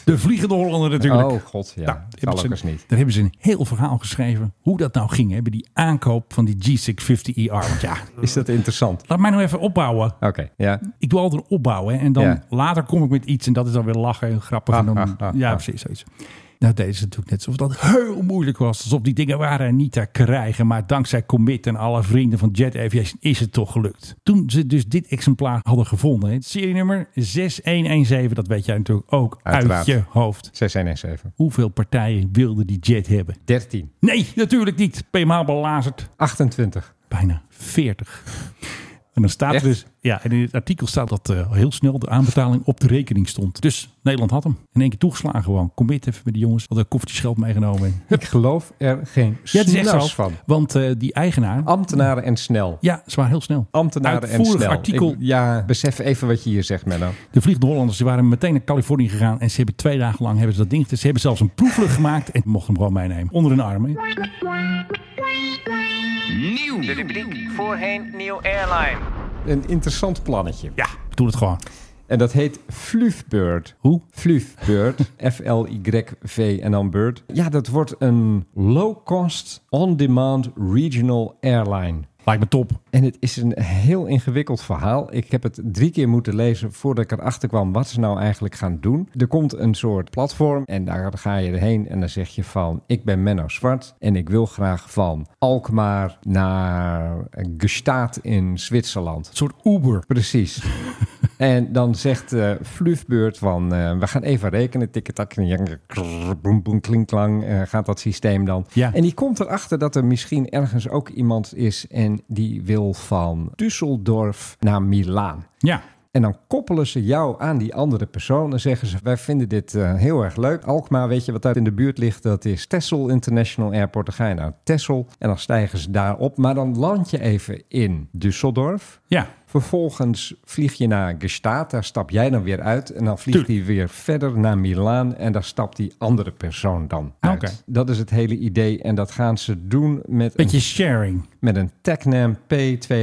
Speaker 6: De Vliegende Hollander natuurlijk.
Speaker 7: Oh god, ja.
Speaker 6: Nou,
Speaker 7: Zal
Speaker 6: hebben
Speaker 7: ook
Speaker 6: ze,
Speaker 7: eens niet.
Speaker 6: Daar hebben ze een heel verhaal geschreven hoe dat nou ging. Hebben die aankoop van die G650ER. E Want ja,
Speaker 7: Is dat interessant?
Speaker 6: laat mij nou even opbouwen.
Speaker 7: Oké, ja.
Speaker 6: Ik doe altijd een opbouw hè, en dan
Speaker 7: Ja.
Speaker 6: later kom ik met iets en dat is dan weer lachen en grappig. en dan,
Speaker 7: Ah, ah, ah,
Speaker 6: ja,
Speaker 7: ah.
Speaker 6: precies zoiets. Nou, deden ze natuurlijk net alsof dat heel moeilijk was. Alsof die dingen waren niet te krijgen. Maar dankzij Commit en alle vrienden van Jet Aviation is het toch gelukt. Toen ze dus dit exemplaar hadden gevonden. hè, Het serienummer 6117, dat weet jij natuurlijk ook
Speaker 7: Uiteraard.
Speaker 6: uit je hoofd.
Speaker 7: 6117.
Speaker 6: Hoeveel partijen wilden die Jet hebben?
Speaker 7: 13.
Speaker 6: Nee, natuurlijk niet. PMH belazerd.
Speaker 7: 28.
Speaker 6: Bijna 40. En dan staat er
Speaker 7: Echt?
Speaker 6: dus, ja, en in het artikel staat dat eh, al heel snel de aanbetaling op de rekening stond. Dus Nederland had hem. In één keer toegeslagen gewoon. Kom dit even met de jongens. Had een koffertje geld meegenomen.
Speaker 7: Ik geloof er geen
Speaker 6: Ja, het is echt zo.
Speaker 7: snars van.
Speaker 6: Want eh, die eigenaar,
Speaker 7: Ambtenaren en snel.
Speaker 6: ja, ze waren heel snel.
Speaker 7: Ambtenaren en
Speaker 6: Uitvoerig
Speaker 7: snel.
Speaker 6: artikel.
Speaker 7: Ik- ja, besef even wat je hier zegt, Menno.
Speaker 6: De Vliegende Hollanders die waren meteen naar Californië gegaan. En ze hebben twee dagen lang hebben ze dat ding getest. Ze hebben zelfs een proefvlucht gemaakt. En mochten hem gewoon meenemen. Onder hun arm. hè.
Speaker 12: De rubriek voorheen Nieuw Airline.
Speaker 7: Een interessant plannetje.
Speaker 6: Ja, doe het gewoon.
Speaker 7: En dat heet Fluffbird.
Speaker 6: Hoe?
Speaker 7: [LAUGHS] Fluffbird. F-L-Y-V en dan Bird. Ja, dat wordt een low-cost, on-demand regional airline.
Speaker 6: Lijkt me top.
Speaker 7: En het is een heel ingewikkeld verhaal. Ik heb het drie keer moeten lezen voordat ik erachter kwam wat ze nou eigenlijk gaan doen. Er komt een soort platform en daar ga je erheen en dan zeg je van... ik ben Menno Zwart en ik wil graag van Alkmaar naar Gestaat in Zwitserland.
Speaker 6: Een soort Uber.
Speaker 7: Precies. En dan zegt eh Fluffbeurt van, eh, we gaan even rekenen, tikketak, jank, krrr, boem, boem, klinklang, eh, gaat dat systeem dan.
Speaker 6: Ja.
Speaker 7: En die komt erachter dat er misschien ergens ook iemand is en die wil van Düsseldorf naar Milaan.
Speaker 6: Ja.
Speaker 7: En dan koppelen ze jou aan die andere persoon en zeggen ze: Wij vinden dit eh, heel erg leuk. Alkmaar, weet je wat daar in de buurt ligt? Dat is Texel International Airport. Dan ga je naar Texel en dan stijgen ze daar op. Maar dan land je even in Düsseldorf.
Speaker 6: Ja.
Speaker 7: Vervolgens vlieg je naar Gestaat, daar stap jij dan weer uit. En dan vliegt hij weer verder naar Milaan en daar stapt die andere persoon dan uit.
Speaker 6: Ah, Oké.
Speaker 7: Dat is het hele idee en dat gaan ze doen met een
Speaker 6: Beetje sharing.
Speaker 7: met een Tecnam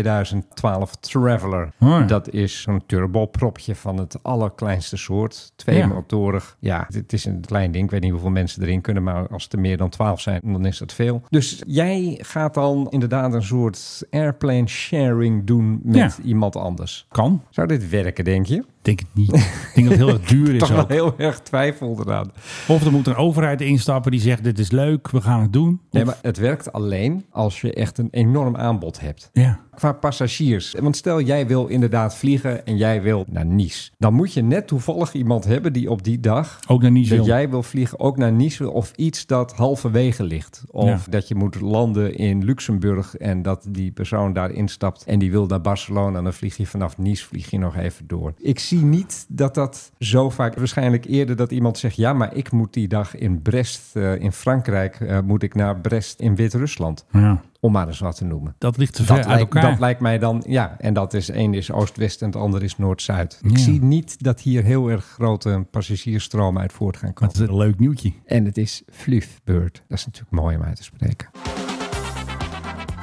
Speaker 7: P2012 Traveler.
Speaker 6: Oh ja.
Speaker 7: Dat is zo'n turbopropje van het allerkleinste soort. Twee
Speaker 6: Ja.
Speaker 7: motorig. Ja, het is een klein ding. Ik weet niet hoeveel mensen erin kunnen, maar als het er meer dan 12 zijn, dan is dat veel. Dus jij gaat dan inderdaad een soort airplane sharing doen met
Speaker 6: Ja.
Speaker 7: iemand anders.
Speaker 6: Kan.
Speaker 7: Zou dit werken, denk je?
Speaker 6: Ik denk het niet. Ik denk dat het heel erg [LAUGHS] duur is
Speaker 7: Toch
Speaker 6: ook.
Speaker 7: wel heel erg twijfel eraan.
Speaker 6: Of er moet een overheid instappen die zegt: Dit is leuk, we gaan het doen.
Speaker 7: Nee,
Speaker 6: Of-
Speaker 7: maar het werkt alleen als je echt een enorm aanbod hebt.
Speaker 6: Ja.
Speaker 7: qua passagiers. Want stel jij wil inderdaad vliegen en jij wil naar Nice. Dan moet je net toevallig iemand hebben die op die dag
Speaker 6: Ook naar Nice
Speaker 7: dat
Speaker 6: wil.
Speaker 7: jij wil vliegen ook naar Nice wil, of iets dat halverwege ligt. Of
Speaker 6: Ja.
Speaker 7: dat je moet landen in Luxemburg en dat die persoon daar instapt en die wil naar Barcelona. En dan vlieg je vanaf Nice vlieg je nog even door. Ik zie niet dat dat zo vaak waarschijnlijk eerder dat iemand zegt ja, maar ik moet die dag in Brest eh, in Frankrijk eh, moet ik naar Brest in Wit-Rusland.
Speaker 6: Ja.
Speaker 7: Om maar eens wat te noemen.
Speaker 6: Dat ligt te ver
Speaker 7: Dat
Speaker 6: uit
Speaker 7: lijkt,
Speaker 6: elkaar.
Speaker 7: dat lijkt mij dan, ja. En dat is, één is oost-west en het ander is noord-zuid. Ik
Speaker 6: Ja.
Speaker 7: zie niet dat hier heel erg grote passagiersstromen uit voort gaan
Speaker 6: maar
Speaker 7: komen.
Speaker 6: het is een leuk nieuwtje.
Speaker 7: En het is Fluffbeurt. Dat is natuurlijk mooi om uit te spreken.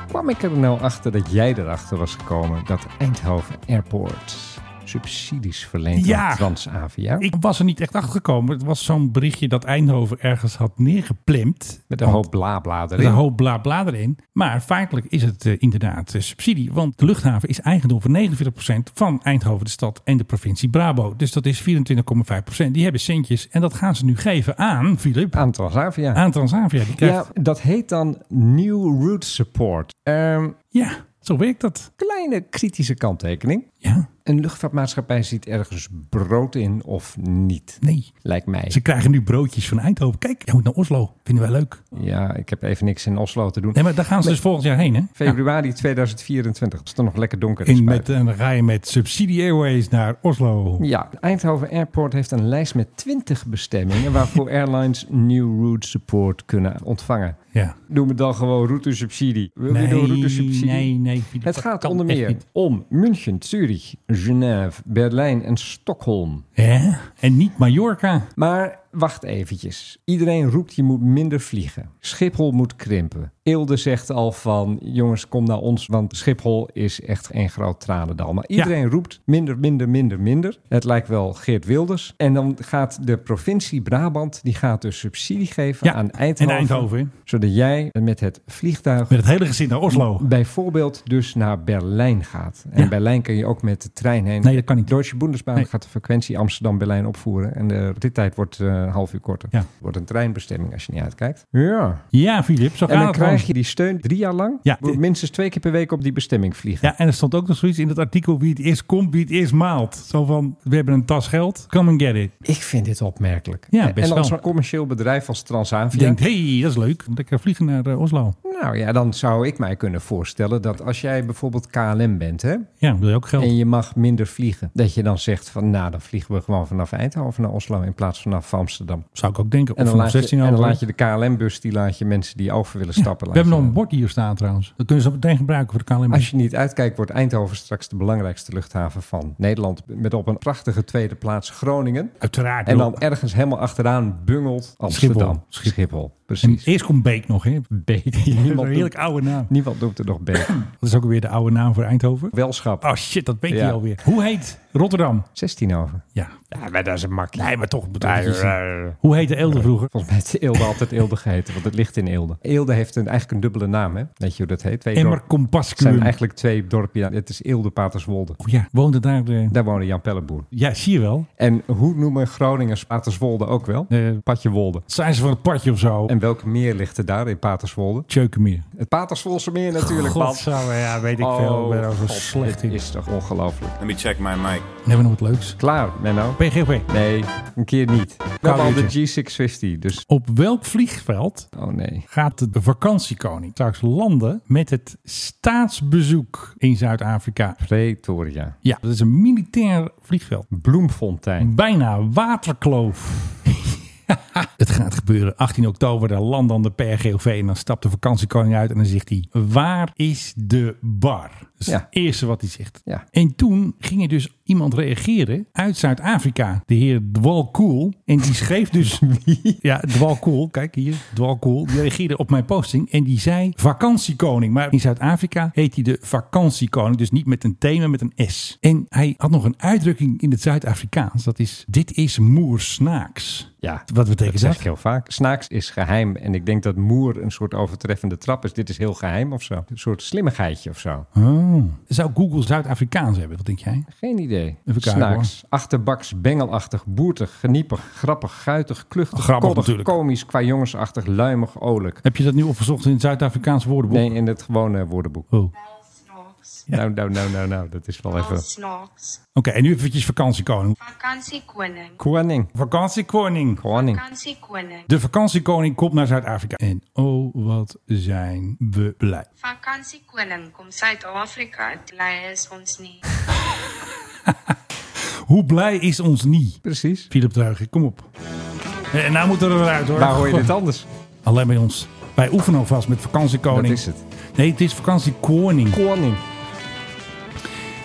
Speaker 7: Kwam ik er nou achter dat jij erachter was gekomen dat Eindhoven Airport subsidies verleent
Speaker 6: Ja.
Speaker 7: aan Transavia?
Speaker 6: Ik was er niet echt achter gekomen. Het was zo'n berichtje dat Eindhoven ergens had neergeplemd.
Speaker 7: Met een hoop blabla erin.
Speaker 6: Met een hoop bla bla erin. Maar feitelijk is het eh, inderdaad eh, subsidie. Want de luchthaven is eigendom van 49% van Eindhoven, de stad en de provincie Brabo. Dus dat is 24,5%. Die hebben centjes. En dat gaan ze nu geven aan, Filip,
Speaker 7: Aan Transavia.
Speaker 6: aan Transavia. Die krijgt,
Speaker 7: Ja, dat heet dan New Route Support. Ehm,
Speaker 6: ja. zo werkt dat.
Speaker 7: kleine kritische kanttekening.
Speaker 6: Ja.
Speaker 7: Een luchtvaartmaatschappij ziet ergens brood in of niet.
Speaker 6: Nee.
Speaker 7: Lijkt mij.
Speaker 6: Ze krijgen nu broodjes van Eindhoven. Kijk, jij moet naar Oslo. Vinden wij leuk.
Speaker 7: Ja, ik heb even niks in Oslo te doen.
Speaker 6: Nee, maar daar gaan ze dus volgend jaar heen, hè?
Speaker 7: Februari 2024. Het is dan nog lekker donker.
Speaker 6: In met, en dan ga je met Subsidie Airways naar Oslo.
Speaker 7: Ja, Eindhoven Airport heeft een lijst met 20 bestemmingen
Speaker 6: [LAUGHS]
Speaker 7: waarvoor airlines New Route Support kunnen ontvangen.
Speaker 6: Ja.
Speaker 7: Doen we dan gewoon routesubsidie? Wil
Speaker 6: Nee,
Speaker 7: je door routesubsidie?
Speaker 6: nee, nee, Philip,
Speaker 7: Het
Speaker 6: dat
Speaker 7: gaat
Speaker 6: kan
Speaker 7: onder
Speaker 6: echt
Speaker 7: meer
Speaker 6: niet.
Speaker 7: om München, Zurich, Genève, Berlijn en Stockholm.
Speaker 6: Hè? En niet Mallorca.
Speaker 7: Maar wacht eventjes. Iedereen roept je moet minder vliegen. Schiphol moet krimpen. Eelde zegt al van jongens kom naar ons, want Schiphol is echt een groot tranendal. Maar iedereen roept minder, minder, minder, minder. Het lijkt wel Geert Wilders. En dan gaat de provincie Brabant, die gaat dus subsidie geven
Speaker 6: Ja,
Speaker 7: aan Eindhoven.
Speaker 6: en Eindhoven, hè?
Speaker 7: Zodat jij met het vliegtuig
Speaker 6: Met het hele gezin naar Oslo.
Speaker 7: bijvoorbeeld dus naar Berlijn gaat. En
Speaker 6: Ja.
Speaker 7: Berlijn kun je ook met de trein heen.
Speaker 6: Nee, dat kan niet.
Speaker 7: Deutsche Bundesbahn
Speaker 6: Nee.
Speaker 7: gaat de frequentie Amsterdam-Berlijn opvoeren. En de rittijd wordt eh, een half uur korter.
Speaker 6: Ja.
Speaker 7: Wordt een treinbestemming als je niet uitkijkt. Ja.
Speaker 6: Ja, Filip, zo
Speaker 7: En
Speaker 6: gaat
Speaker 7: dan
Speaker 6: het
Speaker 7: krijg
Speaker 6: gewoon.
Speaker 7: je die steun drie jaar lang.
Speaker 6: Ja.
Speaker 7: Moet minstens twee keer per week op die bestemming vliegen.
Speaker 6: Ja, en er stond ook nog zoiets in dat artikel: wie het eerst komt, wie het eerst maalt. Zo van: we hebben een tas geld, come and get it.
Speaker 7: Ik vind dit opmerkelijk.
Speaker 6: Ja,
Speaker 7: En-
Speaker 6: best
Speaker 7: en dan
Speaker 6: wel.
Speaker 7: zo'n commercieel bedrijf als
Speaker 6: Je
Speaker 7: Transavia.
Speaker 6: denkt: hey, dat is leuk. Lekker vliegen naar eh, Oslo.
Speaker 7: Nou ja, dan zou ik mij kunnen voorstellen dat als jij bijvoorbeeld KLM bent, hè,
Speaker 6: Ja, wil je ook geld?
Speaker 7: En je mag minder vliegen. Dat je dan zegt van nou, dan vliegen we gewoon vanaf Eindhoven naar Oslo in plaats van vanaf Amsterdam.
Speaker 6: Zou ik ook denken. Of
Speaker 7: En dan,
Speaker 6: vanaf
Speaker 7: laat je,
Speaker 6: 16
Speaker 7: en dan
Speaker 6: over.
Speaker 7: laat je de KLM-bus, die laat je mensen die over willen stappen.
Speaker 6: We
Speaker 7: laat
Speaker 6: hebben nog
Speaker 7: je
Speaker 6: een bord hier staan trouwens. Dat kunnen ze meteen gebruiken voor de KLM.
Speaker 7: dan. Als je niet uitkijkt, wordt Eindhoven straks de belangrijkste luchthaven van Nederland. Met op een prachtige tweede plaats Groningen.
Speaker 6: Uiteraard.
Speaker 7: En
Speaker 6: joh.
Speaker 7: dan ergens helemaal achteraan bungelt Amsterdam.
Speaker 6: Schiphol. Schip- en
Speaker 7: precies.
Speaker 6: eerst komt Beek nog, hè? Beek.
Speaker 7: Niemand
Speaker 6: een heerlijk
Speaker 7: doet-
Speaker 6: oude naam.
Speaker 7: Niemand doet er nog beter.
Speaker 6: Dat is ook weer de oude naam voor Eindhoven.
Speaker 7: Welschap.
Speaker 6: Oh shit, dat weet je
Speaker 7: Ja.
Speaker 6: alweer. Hoe heet Rotterdam?
Speaker 7: 16 over.
Speaker 6: Ja.
Speaker 7: Ja, maar dat is een makkie. eh,
Speaker 6: Nee, maar toch. bedoel
Speaker 7: Ja,
Speaker 6: ik iets.
Speaker 7: ja, ja, ja.
Speaker 6: Hoe heette Eelde vroeger?
Speaker 7: Volgens mij heeft Eelde altijd Eelde geheten, want het ligt in Eelde. Eelde heeft een, eigenlijk een dubbele naam, hè? Weet je hoe dat heet? Twee
Speaker 6: Emmer
Speaker 7: dorpen. Het zijn
Speaker 6: Compascuum.
Speaker 7: eigenlijk twee dorpen. Ja, het is Eelde Paterswolde.
Speaker 6: Oh ja, woonde daar de...
Speaker 7: Daar woonde Jan Pelleboer.
Speaker 6: Ja, zie je wel.
Speaker 7: En hoe noemen Groningers Paterswolde ook wel?
Speaker 6: Eh,
Speaker 7: Patjewolde.
Speaker 6: zijn ze van het padje of zo?
Speaker 7: En welk meer ligt er daar in Paterswolde?
Speaker 6: Tjeukenmeer.
Speaker 7: Het Paterswoldse meer natuurlijk, man.
Speaker 6: Godsamme, ja, weet ik veel. Ik ben er zo
Speaker 7: Oh, God,
Speaker 6: slecht
Speaker 7: dit
Speaker 6: in.
Speaker 7: is toch ongelooflijk.
Speaker 1: Let me check my mic.
Speaker 6: Dan hebben we nog wat leuks.
Speaker 7: Klaar, Menno?
Speaker 6: PGV.
Speaker 7: Nee, een keer niet. We hebben al de
Speaker 6: uurtje.
Speaker 7: G650, dus...
Speaker 6: Op welk vliegveld
Speaker 7: Oh nee.
Speaker 6: gaat de vakantiekoning straks landen met het staatsbezoek in Zuid-Afrika?
Speaker 7: Pretoria.
Speaker 6: Ja, dat is een militair vliegveld. Hm.
Speaker 7: Bloemfontein.
Speaker 6: Bijna waterkloof. [LAUGHS] Het gaat gebeuren. 18 oktober, daar landt dan de PRGOV en dan stapt de vakantiekoning uit en dan zegt hij, waar is de bar? Dat is
Speaker 7: Ja.
Speaker 6: het eerste wat hij zegt.
Speaker 7: Ja.
Speaker 6: En toen ging er dus iemand reageren uit Zuid-Afrika, de heer Dwalkool. En die schreef dus... Wie? Ja, Dwalkool, kijk hier, Dwalkool. Die reageerde op mijn posting en die zei vakantiekoning. Maar in Zuid-Afrika heet hij de vakantiekoning, dus niet met een T, maar met een S. En hij had nog een uitdrukking in het Zuid-Afrikaans, dat is, dit is moersnaaks.
Speaker 7: Ja,
Speaker 6: Wat betekent
Speaker 7: zeg
Speaker 6: dat?
Speaker 7: ik heel vaak. Snaaks is geheim. En ik denk dat moer een soort overtreffende trap is. Dit is heel geheim of zo. Een soort slimmigheidje of zo.
Speaker 6: Oh. Zou Google Zuid-Afrikaans hebben? Wat denk jij?
Speaker 7: Geen idee.
Speaker 6: Even kijken,
Speaker 7: Snaaks. Achterbaks, bengelachtig, boertig, geniepig, grappig, guitig, kluchtig,
Speaker 6: Grappig
Speaker 7: koddig,
Speaker 6: natuurlijk.
Speaker 7: komisch, qua jongensachtig, luimig, olijk.
Speaker 6: Heb je dat nu opgezocht in het Zuid-Afrikaanse woordenboek?
Speaker 7: Nee, in het gewone woordenboek.
Speaker 6: Oh. Oké,
Speaker 7: Nou, nou, nou, nou, nou. Dat is wel even...
Speaker 6: en nu eventjes vakantiekoning.
Speaker 7: Koning.
Speaker 6: Vakantiekoning.
Speaker 7: Koning.
Speaker 6: De vakantiekoning komt naar Zuid-Afrika. En oh, wat zijn we blij.
Speaker 13: Vakansiekoning kom Suid-Afrika, bly is ons nie.
Speaker 6: Hoe blij is ons niet?
Speaker 7: Precies.
Speaker 6: Philip Dreugen, kom op. En nou moeten we eruit hoor.
Speaker 7: Waar hoor je dit anders?
Speaker 6: [LAUGHS] Alleen bij ons. Wij oefenen alvast met vakantiekoning.
Speaker 7: Dat is het.
Speaker 6: Nee, het is vakantiekoning.
Speaker 7: Koning.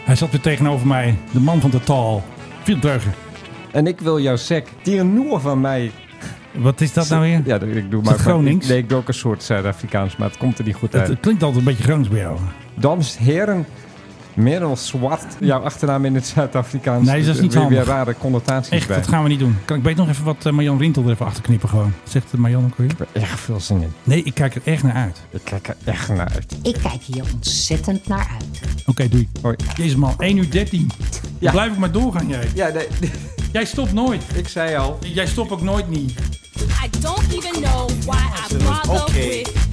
Speaker 6: Hij zat weer tegenover mij. De man van de taal. Philip Dreugen.
Speaker 7: En ik wil jouw sek. Tiernoer van mij.
Speaker 6: Wat is dat nou weer?
Speaker 7: Ja, ik doe
Speaker 6: Is
Speaker 7: maar...
Speaker 6: dat Gronings?
Speaker 7: Nee, ik doe ook een soort Zuid-Afrikaans, maar het komt er niet goed uit.
Speaker 6: Het klinkt altijd een beetje Gronings bij jou.
Speaker 7: Dames en heren, Merel Zwart, jouw achternaam in het Zuid-Afrikaans.
Speaker 6: Nee, dat is niet
Speaker 7: weer, weer
Speaker 6: handig.
Speaker 7: rare connotaties
Speaker 6: Echt,
Speaker 7: bij.
Speaker 6: dat gaan we niet doen. Kan ik beter nog even wat eh, Marjan Rintel er even achter knippen gewoon? Zegt eh, Marjan ook weer?
Speaker 7: Echt veel zin in.
Speaker 6: Nee, ik kijk er echt naar uit.
Speaker 7: Ik kijk er echt naar uit.
Speaker 3: Ik kijk hier ontzettend naar uit.
Speaker 6: Oké, doei.
Speaker 7: Hoi.
Speaker 6: Jezus man, 1 uur 13.
Speaker 7: Ja.
Speaker 6: Blijf ik maar doorgaan jij.
Speaker 7: Ja, nee, [LAUGHS]
Speaker 6: Jij stopt nooit.
Speaker 7: ik zei al.
Speaker 6: Jij stopt ook nooit niet.
Speaker 14: I don't even know why I bother
Speaker 1: okay.
Speaker 14: with